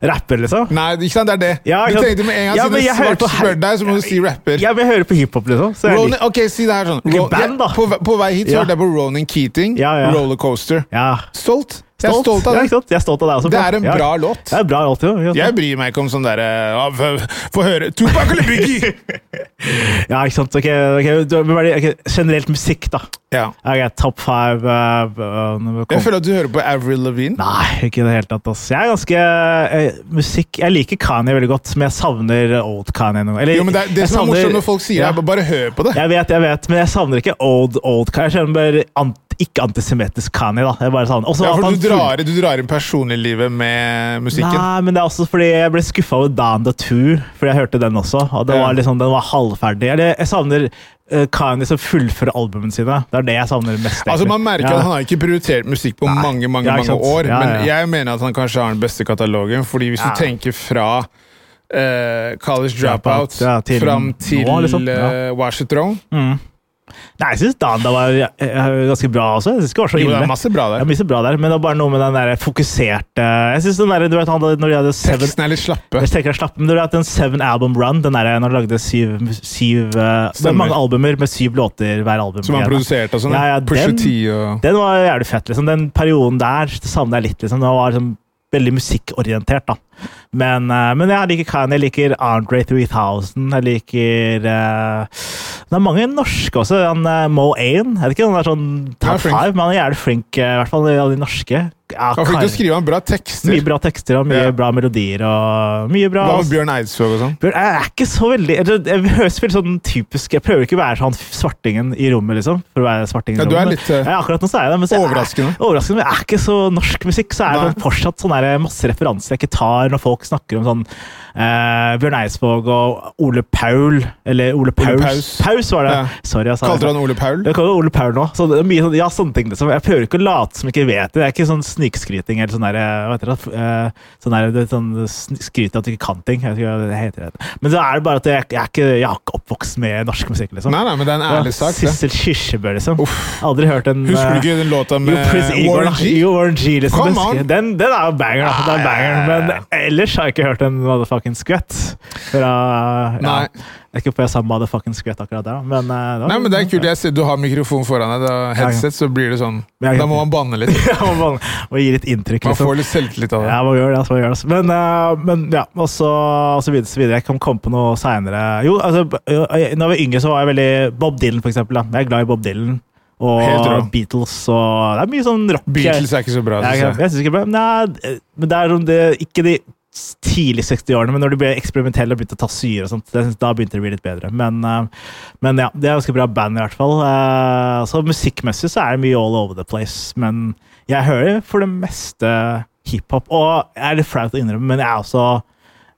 B: Rapper, liksom?
C: Nei, ikke sant, det er det.
B: Ja,
C: du
B: ikke sant.
C: tenkte med en gang
B: Ja, men
C: siden
B: jeg hører
C: Svart
B: på her-
C: spør deg, så må du si rapper.
B: Ja, men jeg hører på hiphop, liksom. Så jeg
C: Ronin,
B: liker.
C: ok, si det her sånn.
B: Ikke
C: Ro-
B: band, da.
C: På, ve- på vei hit så
B: Ja.
C: hørte jeg på Ronan Keating,
B: Ja, ja.
C: Rollercoaster.
B: Ja.
C: Stolt. Jeg er stolt
B: Ja,
C: av det.
B: ikke sant? Jeg er stolt av deg også.
C: Det
B: Frank.
C: er en
B: ja.
C: bra låt.
B: Det er en bra låt, jo. ikke sant?
C: Jeg bryr meg ikke om sånn derre Få høre Tupac eller Biggie!
B: Ja, ikke sant? Ok, ok, du- hvem er det- ok, Generelt musikk, da.
C: ja.
B: Ok, top five eh, eh, når vi
C: Jeg
B: kommer-
C: føler at du hører på Avril Lavigne.
B: Nei, ikke i det hele tatt. Ass. Jeg er ganske eh, musikk Jeg liker Kanye veldig godt, men jeg savner old Kanye. Noe. Eller,
C: Jo, men det, er- det
B: jeg
C: som er
B: savner-
C: morsomt når folk sier
B: Ja.
C: det, er bare hør på det.
B: Jeg vet, jeg vet, men jeg savner ikke old, old Kanye. Jeg savner bare ant, ikke antisemittisk Kanye. da. Jeg bare savner. Også
C: Ja,
B: at
C: for
B: han
C: du drar, du drar inn personliglivet med musikken.
B: Nei, men det er også fordi jeg ble skuffa over Dan the Two, fordi jeg hørte den også. og det
C: Ja.
B: var liksom, Den var halvferdig. Eller, jeg savner eh, Kanye som fullfører albumene sine. Det er det jeg savner mest.
C: Altså
B: egentlig.
C: Man merker
B: Ja.
C: at han har ikke prioritert musikk på mange mange,
B: Ja, ikke
C: mange
B: sant?
C: år,
B: Ja, ja,
C: men
B: ja.
C: jeg mener at han kanskje har den beste katalogen. Fordi hvis
B: Ja.
C: du tenker fra eh, College
B: Dropout,
C: Dropout
B: ja, til
C: fram
B: nå,
C: til
B: liksom. Ja.
C: eh, Wash It Throne
B: Nei, jeg syns Dan da var eh, eh, ganske bra også. Jeg synes ikke det var så
C: Jo,
B: ille.
C: det er masse bra
B: Det
C: der.
B: er mye bra der, men det er bare noe med den der fokuserte Jeg synes den der, du vet, han, hadde- når de hadde seven,
C: Teksten er litt slappe.
B: Jeg tenker jeg slapp, men du vet, den Seven Album Run, den der når de lagde syv, syv eh, Det er
C: Stemmer.
B: mange albumer med syv låter hver album.
C: Som han
B: Ja,
C: produserte og sånn.
B: Ja, ja,
C: Pusha
B: den-
C: T og
B: Den var jævlig fett, liksom. Den perioden der det savner jeg litt, liksom. Den var liksom veldig musikkorientert, da. Men, eh, men jeg liker Kanye, jeg liker Andre 3000, jeg liker eh, Det er mange norske også. Han eh, Mo Ain. Jeg vet ikke om han er sånn
C: Ja,
B: top
C: flink.
B: five, men han er jævlig flink, eh, i hvert fall av de norske. Ja,
C: Han fikk til å
B: Kanye.
C: skrive han bra
B: Mye
C: tekster.
B: bra tekster og mye
C: Ja.
B: bra melodier og mye bra
C: Hva med Bjørn Eidsvåg og sånn?
B: Bjørn, jeg er ikke så veldig Jeg, jeg høres veldig sånn typisk Jeg prøver ikke å være sånn svartingen i rommet, liksom. For å være svartingen i
C: Ja, du er
B: rommet.
C: litt, eh,
B: ja, akkurat nå så er jeg det. Men så er-
C: overraskende.
B: overraskende, men jeg er ikke så norsk musikk. Så er det
C: Nei.
B: sånn fortsatt sånn der, masse referanser jeg ikke tar når folk snakker om sånn eh, Bjørn Eidsvåg og Ole Paul Eller Ole Paus.
C: Paus.
B: Paus var det.
C: Ja.
B: Sorry, jeg sa
C: Kalte du han Ole Paul?
B: jeg kaller Ole Paul nå. Så det er mye sånn, ja, sånne ting liksom. Jeg prøver ikke å late som jeg ikke vet det. Det er ikke sånn snikskryting eller sånn der, eh, hva heter det, Eh, sånn der, det er sånn sn- skryt at du ikke kan ting. Jeg vet ikke hva det heter. Det. Men så er det bare at jeg, jeg, er ikke, jeg er ikke oppvokst med norsk musikk, liksom.
C: Nei, nei, men det er en
B: Ja,
C: ærlig sak. det.
B: Sissel Kyrkjebø, liksom. Aldri hørt en
C: Husker du
B: eh,
C: ikke den låta
B: jo,
C: med
B: Prince Igor,
C: Warren
B: da.
C: G?
B: Jo, Warren G, liksom.
C: Come
B: Den sk-
C: on.
B: Den, den er jo banger, da. Den er banger, men ellers har jeg ikke hørt en motherfucking skvett. Fra, ja.
C: Nei.
B: Jeg er ikke på jeg sa motherfucking skvett akkurat der, da, men eh, det var-
C: Nei, men det er kult. Jeg ser du har mikrofon foran deg. Da, headset, så blir det sånn.
B: Ja, ja.
C: Da må man banne litt.
B: Ja, man, man, man gir et inntrykk,
C: Man
B: liksom.
C: får litt selvtillit av det.
B: Ja, man gjør det. altså, Man gjør det. altså. Men, eh, men ja, og så, og så videre, så videre. Jeg kan komme på noe seinere. Jo, altså, b- jo, jeg- når jeg var yngre, så var jeg veldig Bob Dylan, for eksempel. Da. Jeg er glad i Bob Dylan. Og
C: Helt rå.
B: Beatles og Det er mye sånn rock.
C: Beatles er ikke så bra.
B: jeg, jeg,
C: Synes jeg.
B: jeg synes ikke det er bra. Nei, d- men det er om det, ikke de s- tidlig 60-årene, men når de ble eksperimentelle og begynte å ta syre og sånt, det, synes- da begynte det å bli litt bedre. Men, eh, men ja, det er ganske bra band i hvert fall. Eh, Så musikkmessig så er det mye all over the place, men jeg hører for det meste hiphop. Og jeg er litt flaut å innrømme, men jeg er også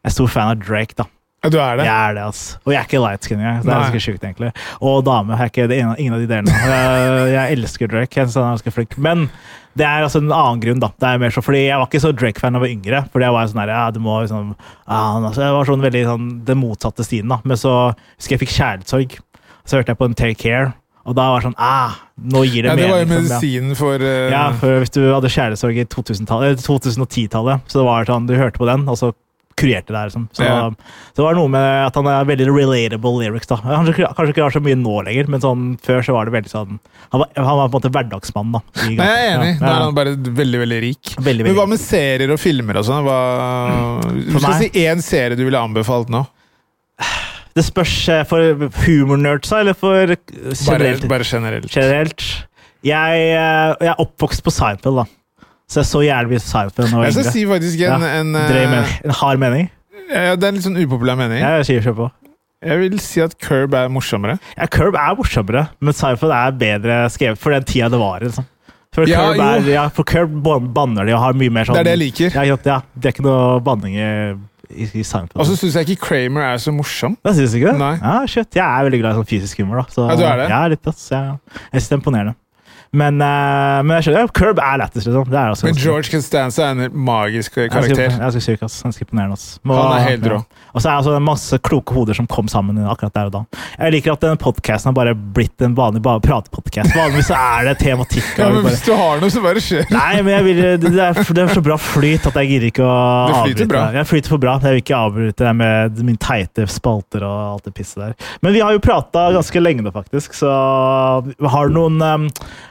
B: en stor fan av Drake, da.
C: Ja, du er det?
B: Jeg er det, altså. Og jeg er ikke light skin engang. så Det er
C: Nei.
B: ganske sjukt, egentlig. Og dame. Jeg er ikke det ene, ingen av de delene. Jeg, jeg elsker Drake. Jeg synes han er ganske flink. Men det er altså en annen grunn, da. Det er mer så, fordi Jeg var ikke så Drake-fan da jeg var yngre. Fordi jeg var sånn der, ja, du må liksom ja, han, altså, Jeg var sånn veldig sånn den motsatte stien, da. Men så husker jeg fikk kjærlighetssorg. Så hørte jeg på en Take Care, og da var det sånn ah, Nå gir det
C: Ja, det
B: mening.
C: var jo
B: liksom, ja.
C: medisinen for eh,
B: Ja, for hvis du hadde kjærlighetssorg i 2000-tallet, eller 2010-tallet, så det var sånn, du hørte på den, og så kurerte det her, liksom. Så,
C: Ja.
B: så det var noe med at han er veldig relatable lyrics, da. Han kanskje, kanskje ikke har så mye nå lenger, men sånn, før så var det veldig sånn Han var, han var på en måte hverdagsmann, da. i
C: Nei, jeg er
B: gata.
C: enig.
B: Ja,
C: Nå
B: ja.
C: er han bare veldig veldig rik.
B: Veldig,
C: Men hva
B: veldig.
C: med serier og filmer og sånn? Hva... Du skal si
B: meg?
C: én serie du ville anbefalt nå.
B: Det spørs eh, for humornerdsa, eller for eh,
C: Bare,
B: generelt.
C: bare generelt.
B: generelt. Jeg, eh, jeg er oppvokst på Seinfeld, da. Så jeg så gjerne mye Seinfeld da jeg
C: Jeg
B: var
C: skal
B: yngre.
C: si faktisk en,
B: Ja,
C: en, eh,
B: Drøy mening. En hard mening.
C: ja, Det er en litt sånn upopulær mening.
B: Jeg sier kjør på.
C: Jeg vil si at Curb er morsommere.
B: Ja, Curb er morsommere, men Seinfeld er bedre skrevet for den tida det var. Liksom. For,
C: Ja,
B: Curb er,
C: jo.
B: ja, for Curb ban- banner de og har mye mer sånn
C: Det er det jeg liker.
B: Ja, ja, ja, det er ikke noe banning i i, i Seinfeld.
C: Og så syns jeg ikke Kramer er så morsom.
B: Da synes du ikke det?
C: Altså, Nei.
B: Ja, shit. Jeg er veldig glad i sånn fysisk humor. da. Så,
C: Ja, du er det?
B: Ja, litt, ass. Jeg, jeg synes det er imponerende. Men, eh, men jeg skjønner, ja, Curb er lættis, liksom. Det er også
C: Men George Costanza er en helt magisk eh,
B: Jeg
C: karakter.
B: er ganske syk, ass. Ganske imponerende, ass.
C: Han er helt rå.
B: Og så er det altså masse kloke hoder som kom sammen akkurat der og da. Jeg liker at den podcasten har bare blitt en vanlig bare pratepodcast. Vanligvis så er det tematikk.
C: Ja,
B: og vi
C: men
B: bare,
C: Hvis du har noe, så bare skjer det.
B: Nei, men jeg vil, det, det er, det er så bra flyt at jeg gidder ikke å
C: Det flyter
B: avbryte.
C: bra.
B: det. Jeg flyter for bra. Jeg vil ikke avbryte det med mine teite spalter og alt det pisset der. Men vi har jo prata ganske lenge nå, faktisk, så har du noen um,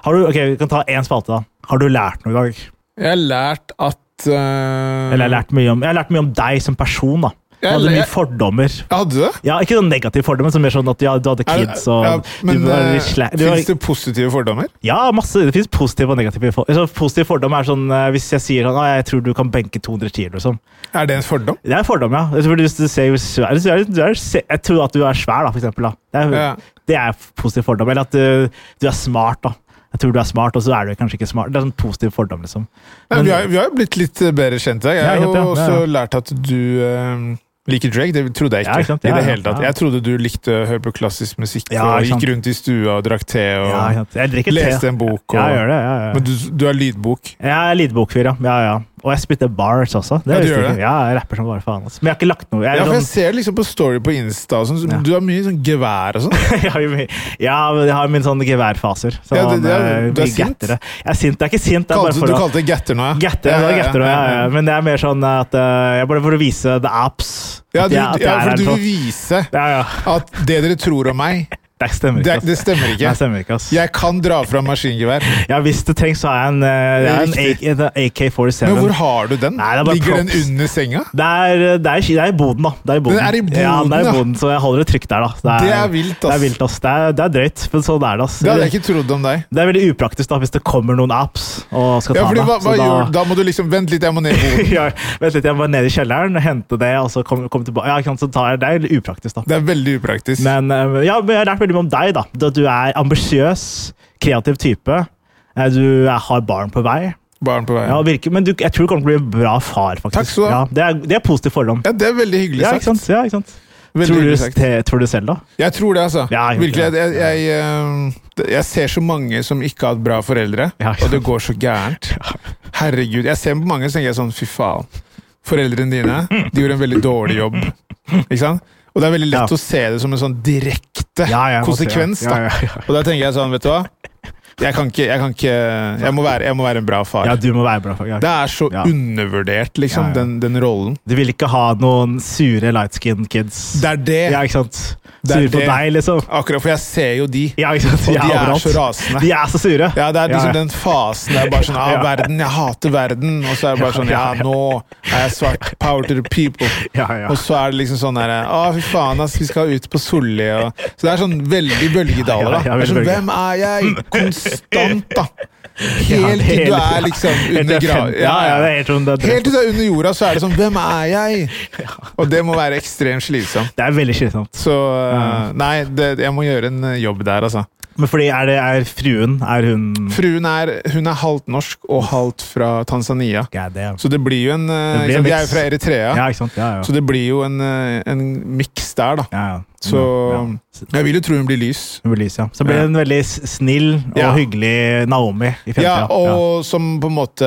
B: har du, Ok, vi kan ta én spalte, da. Har du lært noe i dag?
C: Jeg har lært at eh,
B: Eller jeg har lært mye om, jeg har lært mye om deg som person, da. Du
C: Jeg
B: hadde
C: lær-
B: mye fordommer.
C: Hadde du det?
B: Ja, Ikke sånn negative fordommer, men mer sånn at du hadde, du hadde
C: Er det-
B: kids og
C: ja, men
B: du var litt sla- du var-
C: fins det positive fordommer?
B: Ja, masse. Det fins positive og negative for altså, Positive fordommer er sånn eh, hvis jeg sier sånn, ah, jeg tror du kan benke 200 kilo. Liksom.
C: Er det en fordom?
B: Det er fordom, ja. Altså, fordi Hvis du ser hvor svær du er, du er, se- Jeg tror at du er svær, da, for eksempel. Da. Det, er,
C: Ja.
B: det er positiv fordom. Eller at du, du er smart, da. Jeg tror du er smart, og så er du kanskje ikke smart. Det er sånn positiv fordom, liksom.
C: Nei,
B: Men-
C: vi, har, vi har jo blitt litt eh, bedre kjent. Jeg
B: Ja,
C: har
B: ikke
C: jo
B: sant, ja,
C: også
B: ja, ja. lært
C: lært at du eh, liker Drake. Det trodde jeg ikke.
B: Ja, ikke sant,
C: i
B: ja,
C: det
B: ja,
C: hele tatt.
B: ja.
C: Jeg trodde du likte å høre på klassisk musikk
B: Ja,
C: og
B: ikke sant.
C: gikk rundt i stua og drakk te og
B: Ja, ikke sant. jeg drikker te.
C: leste en bok. Og,
B: Ja, jeg gjør det. Ja, ja.
C: Men du, du har lydbok.
B: Jeg er lydbokfyr, ja. ja, ja. Og jeg spytter bars også. Det
C: Ja, du
B: visste jeg
C: gjør
B: ikke.
C: det?
B: Ja, jeg rapper som bare faen. ass. Men jeg har ikke lagt noe. Jeg
C: Ja,
B: er
C: for
B: sånn-
C: jeg ser liksom på story på Insta. Og sånn, så
B: Ja.
C: Du har mye sånn gevær og sånn.
B: jeg har jo mye- ja, men jeg har mine sånne geværfaser. Sånn,
C: Ja, det- det er-
B: eh,
C: du er
B: mye
C: sint?
B: gattere. Jeg er sint. Jeg er ikke sint. Det er bare
C: Kalte,
B: for
C: du
B: å
C: kalte det getter nå, ja.
B: Gatter, ja, gatter, ja, ja, ja. Men det er mer sånn at eh, jeg bare for å vise the apps.
C: Ja,
B: at
C: du,
B: jeg- at jeg
C: ja,
B: er her
C: for du
B: sånn.
C: vil vise
B: Ja, ja.
C: at det dere tror om meg,
B: Det stemmer ikke.
C: det,
B: ass.
C: det stemmer
B: Nei, det
C: ikke.
B: stemmer ikke, ass.
C: Jeg kan dra fram maskingevær.
B: Ja, hvis det trengs, så er jeg en, eh, jeg er en,
C: Riktig.
B: AK, en AK-47.
C: Men hvor har du den?
B: sånn- Nei, det er bare
C: Ligger
B: props.
C: den under senga?
B: Det er, det, er, det er i boden, da. Det er i boden,
C: Den er i boden,
B: ja, det er
C: ja.
B: i boden så jeg holder det trygt der, da.
C: Det er vilt, ass.
B: Det er, vilt, ass. Det er, det er drøyt, men sånn er det. ass.
C: Det hadde jeg ikke trodd om deg.
B: Det er veldig upraktisk da, hvis det kommer noen apps og skal ta
C: Ja, fordi
B: deg.
C: hva,
B: Så
C: hva
B: da-
C: gjør du? Da må du liksom Vent litt, jeg må ned i boden.
B: ja, vent litt, jeg var nede i kjelleren og hente det, og så kom, kom tilbake. Ja, ikke sant, så tar jeg det. Det er veldig upraktisk, da.
C: Det er veldig upraktisk.
B: Men, eh, ja, men jeg har lært veldig mye om deg, da. Da Du er ambisiøs, kreativ type. Eh, Du er- har barn på vei.
C: Barn på vei.
B: Ja, virker, men du, jeg tror du kommer til å bli en bra far, faktisk.
C: Takk skal du ha.
B: Ja, det, er, det er positiv fordom.
C: Ja, det er veldig hyggelig
B: Ja, ikke
C: sagt.
B: sant? Ja, ikke sant?
C: Veldig
B: Tror du,
C: hyggelig sagt.
B: te, tror du selv, da?
C: Jeg tror det, altså.
B: Ja, jeg-
C: Virkelig. Jeg, jeg, jeg, eh, jeg ser så mange som ikke har hatt bra foreldre,
B: Ja, ikke
C: og det
B: sant.
C: går så gærent. Herregud. Jeg ser på mange og tenker jeg sånn Fy faen. Foreldrene dine de gjorde en veldig dårlig jobb. Ikke sant? Og det er veldig lett
B: Ja.
C: å se det som en sånn
B: Ja,
C: direkte
B: ja, jeg må si, ja.
C: konsekvens. da.
B: Ja, ja, ja.
C: Og da tenker jeg sånn, vet du hva Jeg kan ikke Jeg, kan ikke, jeg, må, være, jeg må være en bra far.
B: Ja, du må være bra. far. Ja.
C: Det er så
B: Ja.
C: undervurdert, liksom,
B: Ja, ja.
C: Den, den rollen.
B: Du vil ikke ha noen sure light-skin kids.
C: Det er det.
B: Ja, ikke sant?
C: Det er
B: Sure på
C: det.
B: deg, liksom.
C: Akkurat, for jeg ser jo de.
B: Ja, ikke sant?
C: Og de er
B: overalt.
C: så rasende.
B: De er så sure.
C: Ja, det er liksom
B: ja.
C: den fasen der bare sånn ah,
B: Ja.
C: verden, jeg hater verden. Og så er det bare sånn Ja,
B: Ja, ja.
C: nå er jeg svart. Power to the people.
B: Ja, ja.
C: Og så er det liksom sånn derre Å, fy faen, ass, vi skal ut på Solli og Så det er sånn veldig bølgedaler,
B: Ja,
C: da.
B: ja,
C: Det er sånn,
B: veldig
C: Hvem er jeg? Konstant, da.
B: Ja,
C: Helt til du
B: hele tiden.
C: er liksom
B: Helt til
C: under
B: jeg er
C: gra...
B: fem- Ja, ja, det er helt sånn det er
C: Helt til du er under jorda, så er det sånn Hvem er jeg? Og det må være ekstremt slitsomt.
B: Det er veldig slitsomt.
C: Så eh, Nei, det, jeg må gjøre en eh, jobb der, altså.
B: Men fordi er det er fruen Er hun
C: Fruen er, hun er halvt norsk og halvt fra Tanzania.
B: God damn.
C: Så det blir jo en
B: Det
C: eh,
B: blir en
C: ikke sant, Jeg er
B: mix.
C: jo fra Eritrea,
B: Ja, ikke sant? Ja, ja.
C: så det blir jo en, eh, en miks der, da.
B: ja, ja.
C: Så jeg vil jo tro hun blir lys.
B: Hun blir lys, ja. Så blir det en veldig s- snill og
C: Ja.
B: hyggelig Naomi i
C: Ja,
B: fremtida.
C: og som på en måte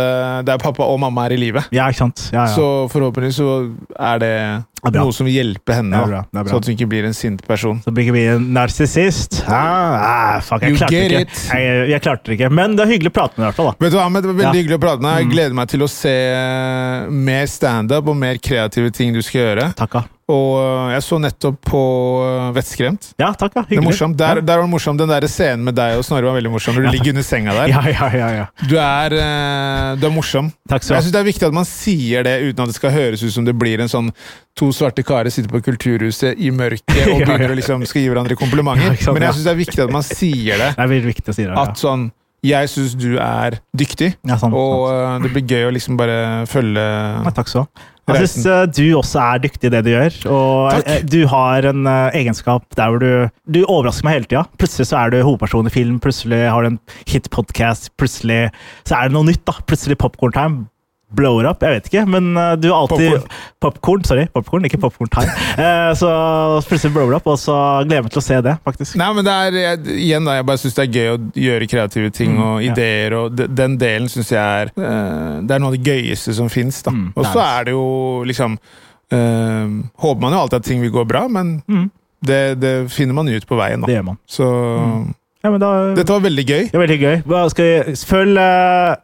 C: Der pappa og mamma er i live.
B: ja. ja, ikke sant? Ja, ja.
C: Så forhåpentligvis så er det
B: er bra.
C: noe som vil hjelpe henne,
B: Det er
C: da.
B: bra, det er bra.
C: så at hun ikke blir en sint person.
B: Så blir ikke vi en narsissist. Ah, ah, fuck, jeg
C: You
B: klarte
C: get
B: ikke.
C: it.
B: Jeg, jeg klarte det ikke. Men det er hyggelig å prate med deg i hvert fall. da.
C: Vet du hva, Ahmed, det var Veldig
B: Ja. Mm.
C: hyggelig å prate med deg. Jeg gleder meg til å se eh, mer standup og mer kreative ting du skal gjøre.
B: Takka.
C: Og øh, jeg så nettopp på øh, Vettskremt.
B: Ja, takka.
C: Det er
B: Hyggelig.
C: morsomt. Der, der var det morsomt. Den der scenen med deg og Snorre var veldig morsom. Når du ligger under senga der.
B: Ja, ja, ja, ja.
C: Du er, eh, du er morsom.
B: Takk skal du ha.
C: jeg synes Det er viktig at man sier det uten at det skal høres ut som det blir en sånn to svarte karer sitter på Kulturhuset i mørket
B: Ja,
C: og
B: ja.
C: begynner å liksom skal gi hverandre
B: Ja,
C: komplimenter.
B: ikke sant,
C: Men
B: ja.
C: jeg syns det er viktig at man sier det.
B: Det er veldig viktig å si det. Ja.
C: At sånn Jeg syns du er dyktig,
B: Ja, sant,
C: og eh, det blir gøy å liksom bare følge
B: Ja, takk skal du ha. Jeg
C: Reisen.
B: syns eh, du også er dyktig i det du gjør. Og
C: Takk.
B: eh, du har en eh, egenskap der hvor du Du overrasker meg hele tida. Plutselig så er du hovedperson i film, plutselig har du en hit podcast, plutselig så er det noe nytt. da. Plutselig popcorn time. blower up, jeg vet ikke, men eh, du har alltid
C: Popcorn.
B: Popkorn, sorry. Popcorn, ikke popcorn time. Eh, så plutselig blower up, og så gleder jeg meg til å se det, faktisk.
C: Nei, men det er, jeg, igjen da, jeg bare syns det er gøy å gjøre kreative ting og
B: Mm, ja.
C: ideer. og de, Den delen syns jeg er eh, Det er noe av det gøyeste som fins. da.
B: Mm,
C: og så
B: nice.
C: er det jo liksom eh, Håper man jo alltid at ting vil gå bra, men
B: Mm.
C: det, det finner man ut på veien.
B: Det
C: da.
B: gjør man.
C: Så
B: Ja, men da, det
C: dette var veldig gøy.
B: er veldig gøy. Hva skal vi Følg, uh,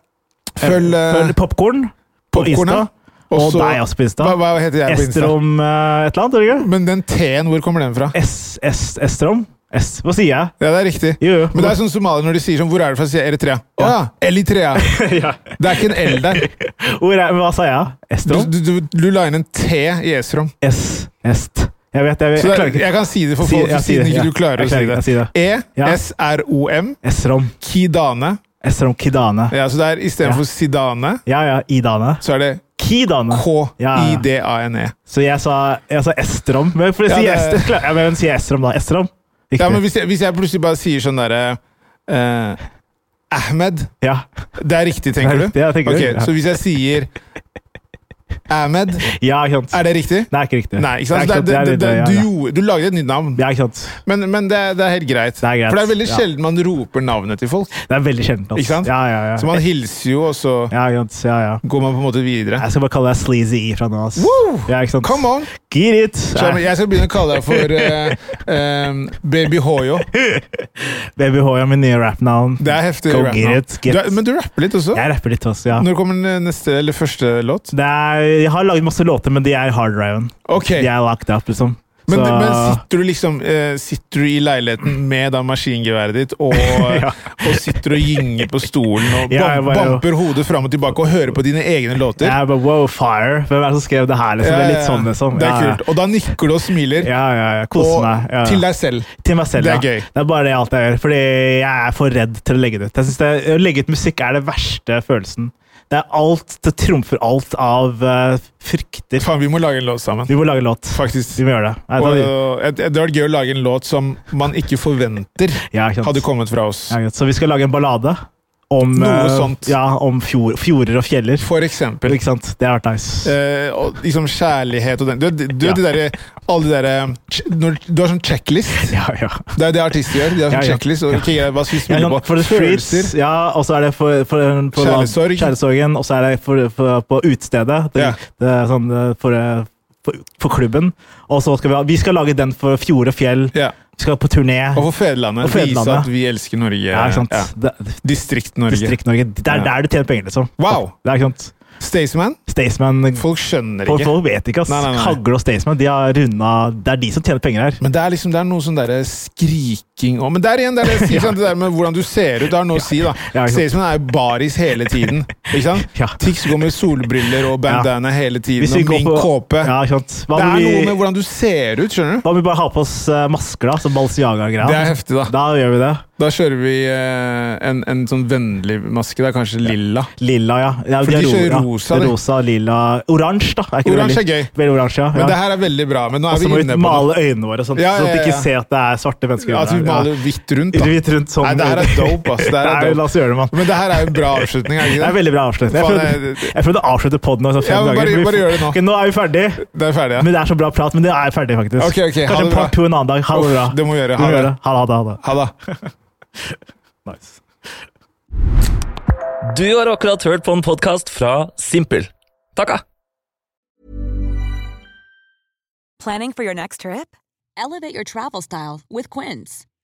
C: Følg, eh,
B: popkorn på Insta.
C: popcornet.
B: Og
C: så-
B: deg også på Insta.
C: Hva, hva heter jeg på Insta?
B: Estrom eh, et eller annet, gjør du ikke?
C: Men den T-en, hvor kommer den fra?
B: S, S, Estrom? S, hva sier jeg?
C: Ja, det er riktig.
B: Jo, jo.
C: Men det er sånn somalier når de sier sånn Hvor er du fra? sier jeg Eritrea. Å ja! Elitrea.
B: ja.
C: Det er ikke en L der.
B: Hvor er, hva sa jeg?
C: Du,
B: Estrom?
C: du, du, du la inn en T i Esrom.
B: S, Est. Jeg vet, jeg, vet,
C: Så
B: jeg
C: det,
B: klarer
C: er-
B: ikke.
C: jeg kan si det for
B: Si-
C: folk,
B: ja, si
C: siden
B: det,
C: ikke
B: ja.
C: du klarer
B: Jeg
C: å
B: klarer
C: si
B: ikke å si
C: det. E,
B: det. Ja.
C: E-S-R-O-M.
B: Estrom.
C: Kidane.
B: Estrom Kidane.
C: Ja, så det er
B: Ja.
C: istedenfor Sidane,
B: Ja, ja, Idane.
C: så er det
B: Kidane.
C: K-I-D-A-N-E.
B: Så jeg sa, jeg sa Estrom. Men for å
C: Ja,
B: si
C: det-
B: Ester, klar- ja, men hvem sier Estrom, da? Estrom? Riktig.
C: Ja, men hvis jeg, hvis jeg plutselig bare sier sånn derre eh, Ahmed.
B: ja.
C: Det er riktig, tenker
B: Det er riktig, ja,
C: du?
B: tenker jeg.
C: Ok, Så hvis jeg sier Ahmed,
B: ja, ikke sant.
C: er det riktig?
B: Det er ikke riktig.
C: Nei, ikke sant? Så Det,
B: Det
C: er-
B: er
C: det, det,
B: ja,
C: du,
B: ja.
C: gjorde- du lagde et nytt navn,
B: Ja, ikke sant.
C: men, men det, er- det er helt greit.
B: Det er greit,
C: For det er veldig
B: ja.
C: sjelden man roper navnet til folk.
B: Det er veldig sjeldent. ass.
C: Ikke sant?
B: Ja, ja, ja.
C: Så man hilser jo, og så
B: ja, ikke sant. Ja, ja.
C: går man på en måte videre.
B: Jeg skal bare kalle deg Sleazy E fra nå. ass.
C: Woo!
B: Ja, ikke sant?
C: Come on!
B: Get it!
C: Skjønner,
B: Nei,
C: jeg skal begynne å kalle deg for eh, eh, Baby Hoyo.
B: Baby H er min nye rappnavn.
C: Det er heftig.
B: Go
C: rap
B: get
C: nå.
B: it, get
C: Du
B: it.
C: er, men du rapper litt også.
B: Jeg rapper litt også, ja.
C: Når kommer den neste eller første låt?
B: Det er, jeg har laget masse låter, men de er hardriven.
C: Ok,
B: De er locked up, liksom.
C: men,
B: Så-
C: men sitter du liksom eh, Sitter du i leiligheten med da maskingeværet ditt og,
B: Ja.
C: og sitter og gynger på stolen og
B: Ja, jeg
C: bam,
B: bare-
C: bamper hodet fram og tilbake og hører på dine egne låter?
B: Jeg er bare, wow, fire. Hvem er det som skrev det her? Liksom?
C: Ja,
B: Det er
C: ja,
B: litt
C: ja.
B: sånn, liksom.
C: Det
B: Ja,
C: er
B: ja.
C: kult. Og da nikker du og smiler.
B: Ja, ja, ja. Kose
C: Og
B: meg. Ja.
C: til deg selv.
B: Til meg selv,
C: Det er
B: ja.
C: gøy.
B: Det er bare det alt jeg gjør. Fordi jeg er for redd til å legge det ut. Jeg synes det, Å legge ut musikk er det verste følelsen. Det er alt, det trumfer alt av eh, frykter.
C: Faen, vi må lage en låt sammen.
B: Vi må lage låt.
C: Faktisk.
B: Vi må gjøre det. Nei,
C: Og,
B: da,
C: eh, det hadde vært gøy å lage en låt som man ikke forventer
B: ja, ikke sant.
C: hadde kommet fra oss.
B: Ja, greit. Så vi skal lage en ballade om,
C: Noe
B: eh,
C: sånt.
B: Ja, om fjor, fjorder og fjeller.
C: For eksempel.
B: Ikke sant? Det har vært nice.
C: Eh, og liksom kjærlighet og den Du, du, du
B: Ja.
C: de derre Alle de derre ch- når- Du har sånn checklist.
B: Ja, ja.
C: Det er det artister gjør. De
B: Ja,
C: har sånn
B: ja.
C: checklist. Og, ok, hva skal vi
B: Ja,
C: spille på?
B: sånn, for the streets,
C: Følelser.
B: ja, og så er det for, for, for
C: Kjærlighetssorg.
B: kjærlighetssorgen, og så er det for, for, på utestedet. Det,
C: Ja.
B: det er sånn eh, for, eh, for, for klubben. Og så skal vi ha Vi skal lage den for fjord og fjell.
C: Ja.
B: Vi skal på turné.
C: Og for fedrelandet.
B: Og fedrelandet.
C: Vise at vi elsker Norge.
B: ja, ikke sant?
C: Ja.
B: Det-
C: Distrikt-Norge.
B: Distrikt-Norge. Det er
C: Ja.
B: der du tjener penger, liksom.
C: Wow!
B: Det er ikke sant?
C: Staysman.
B: Staysman
C: Folk skjønner
B: Folk,
C: ikke.
B: folk vet ikke, ass.
C: Nei, nei, nei.
B: Hagle og Staysman, de har runda Det er de som tjener penger her.
C: Men det er liksom, det er noe sånn derre skriking og Men der igjen, det er det jeg sier, sant? det der med hvordan du ser ut, det har noe å si, da.
B: Ja, ikke sant.
C: Staysman er jo baris hele tiden. Ikke sant?
B: Ja.
C: Tix går med solbriller og bandana hele tiden,
B: Hvis vi
C: og
B: går
C: min
B: på-
C: kåpe.
B: Ja, ikke sant? Hva
C: Det
B: om
C: er noe med
B: vi,
C: hvordan du ser ut, skjønner du?
B: hva om vi bare har på oss eh, masker, da? Som Balciaga-greia.
C: Det er heftig, da.
B: Da gjør vi det.
C: Da kjører vi eh, en, en sånn vennlig maske. Det er kanskje lilla.
B: Lilla, ja. ja
C: For de
B: har
C: kjører
B: ro- ja.
C: rosa, de.
B: Rosa, lilla Oransje, da. ikke det
C: Oransje
B: veldig-
C: er gøy.
B: Veldig oransje, ja.
C: Men
B: ja.
C: det her er veldig bra. Men nå
B: Og
C: er
B: så
C: vi
B: må vi
C: inne på noe.
B: male øynene våre, sånn,
C: Ja, ja,
B: sånn at de
C: ja,
B: ikke
C: ja.
B: ser at det er svarte mennesker
C: At vi
B: der,
C: maler hvitt rundt,
B: ja.
C: da.
B: Hvitt rundt sånn.
C: Nei, det her er dope, ass. Det her er
B: Nei,
C: dope.
B: La oss gjøre det, mann.
C: Men det her er jo en bra avslutning. Er det
B: Det
C: ikke
B: er veldig bra avslutning. Jeg
C: Faen,
B: prøvde,
C: jeg-
B: jeg prøvde å avslutte poden over sånn fem
C: Ja, men bare-
B: dager. men vi-
C: bare gjør det nå.
B: Ok, nå er vi ferdig.
C: det er ferdig, ja.
B: Men det er så bra prat, men det er ferdig, faktisk.
C: Ok, ok, ha
B: Kanskje
C: det
B: part
C: bra.
B: to en annen dag. Ha det
C: Uff,
B: bra.
C: det må vi gjøre.
B: Vi
C: Ha det.
B: Ha det, ha det. Ha det.
C: Ha det.
B: Nice.
E: Du har akkurat hørt på en podkast fra Simpel. Takka!
F: Planning for your next trip?
G: Elevate your travel style with Quince.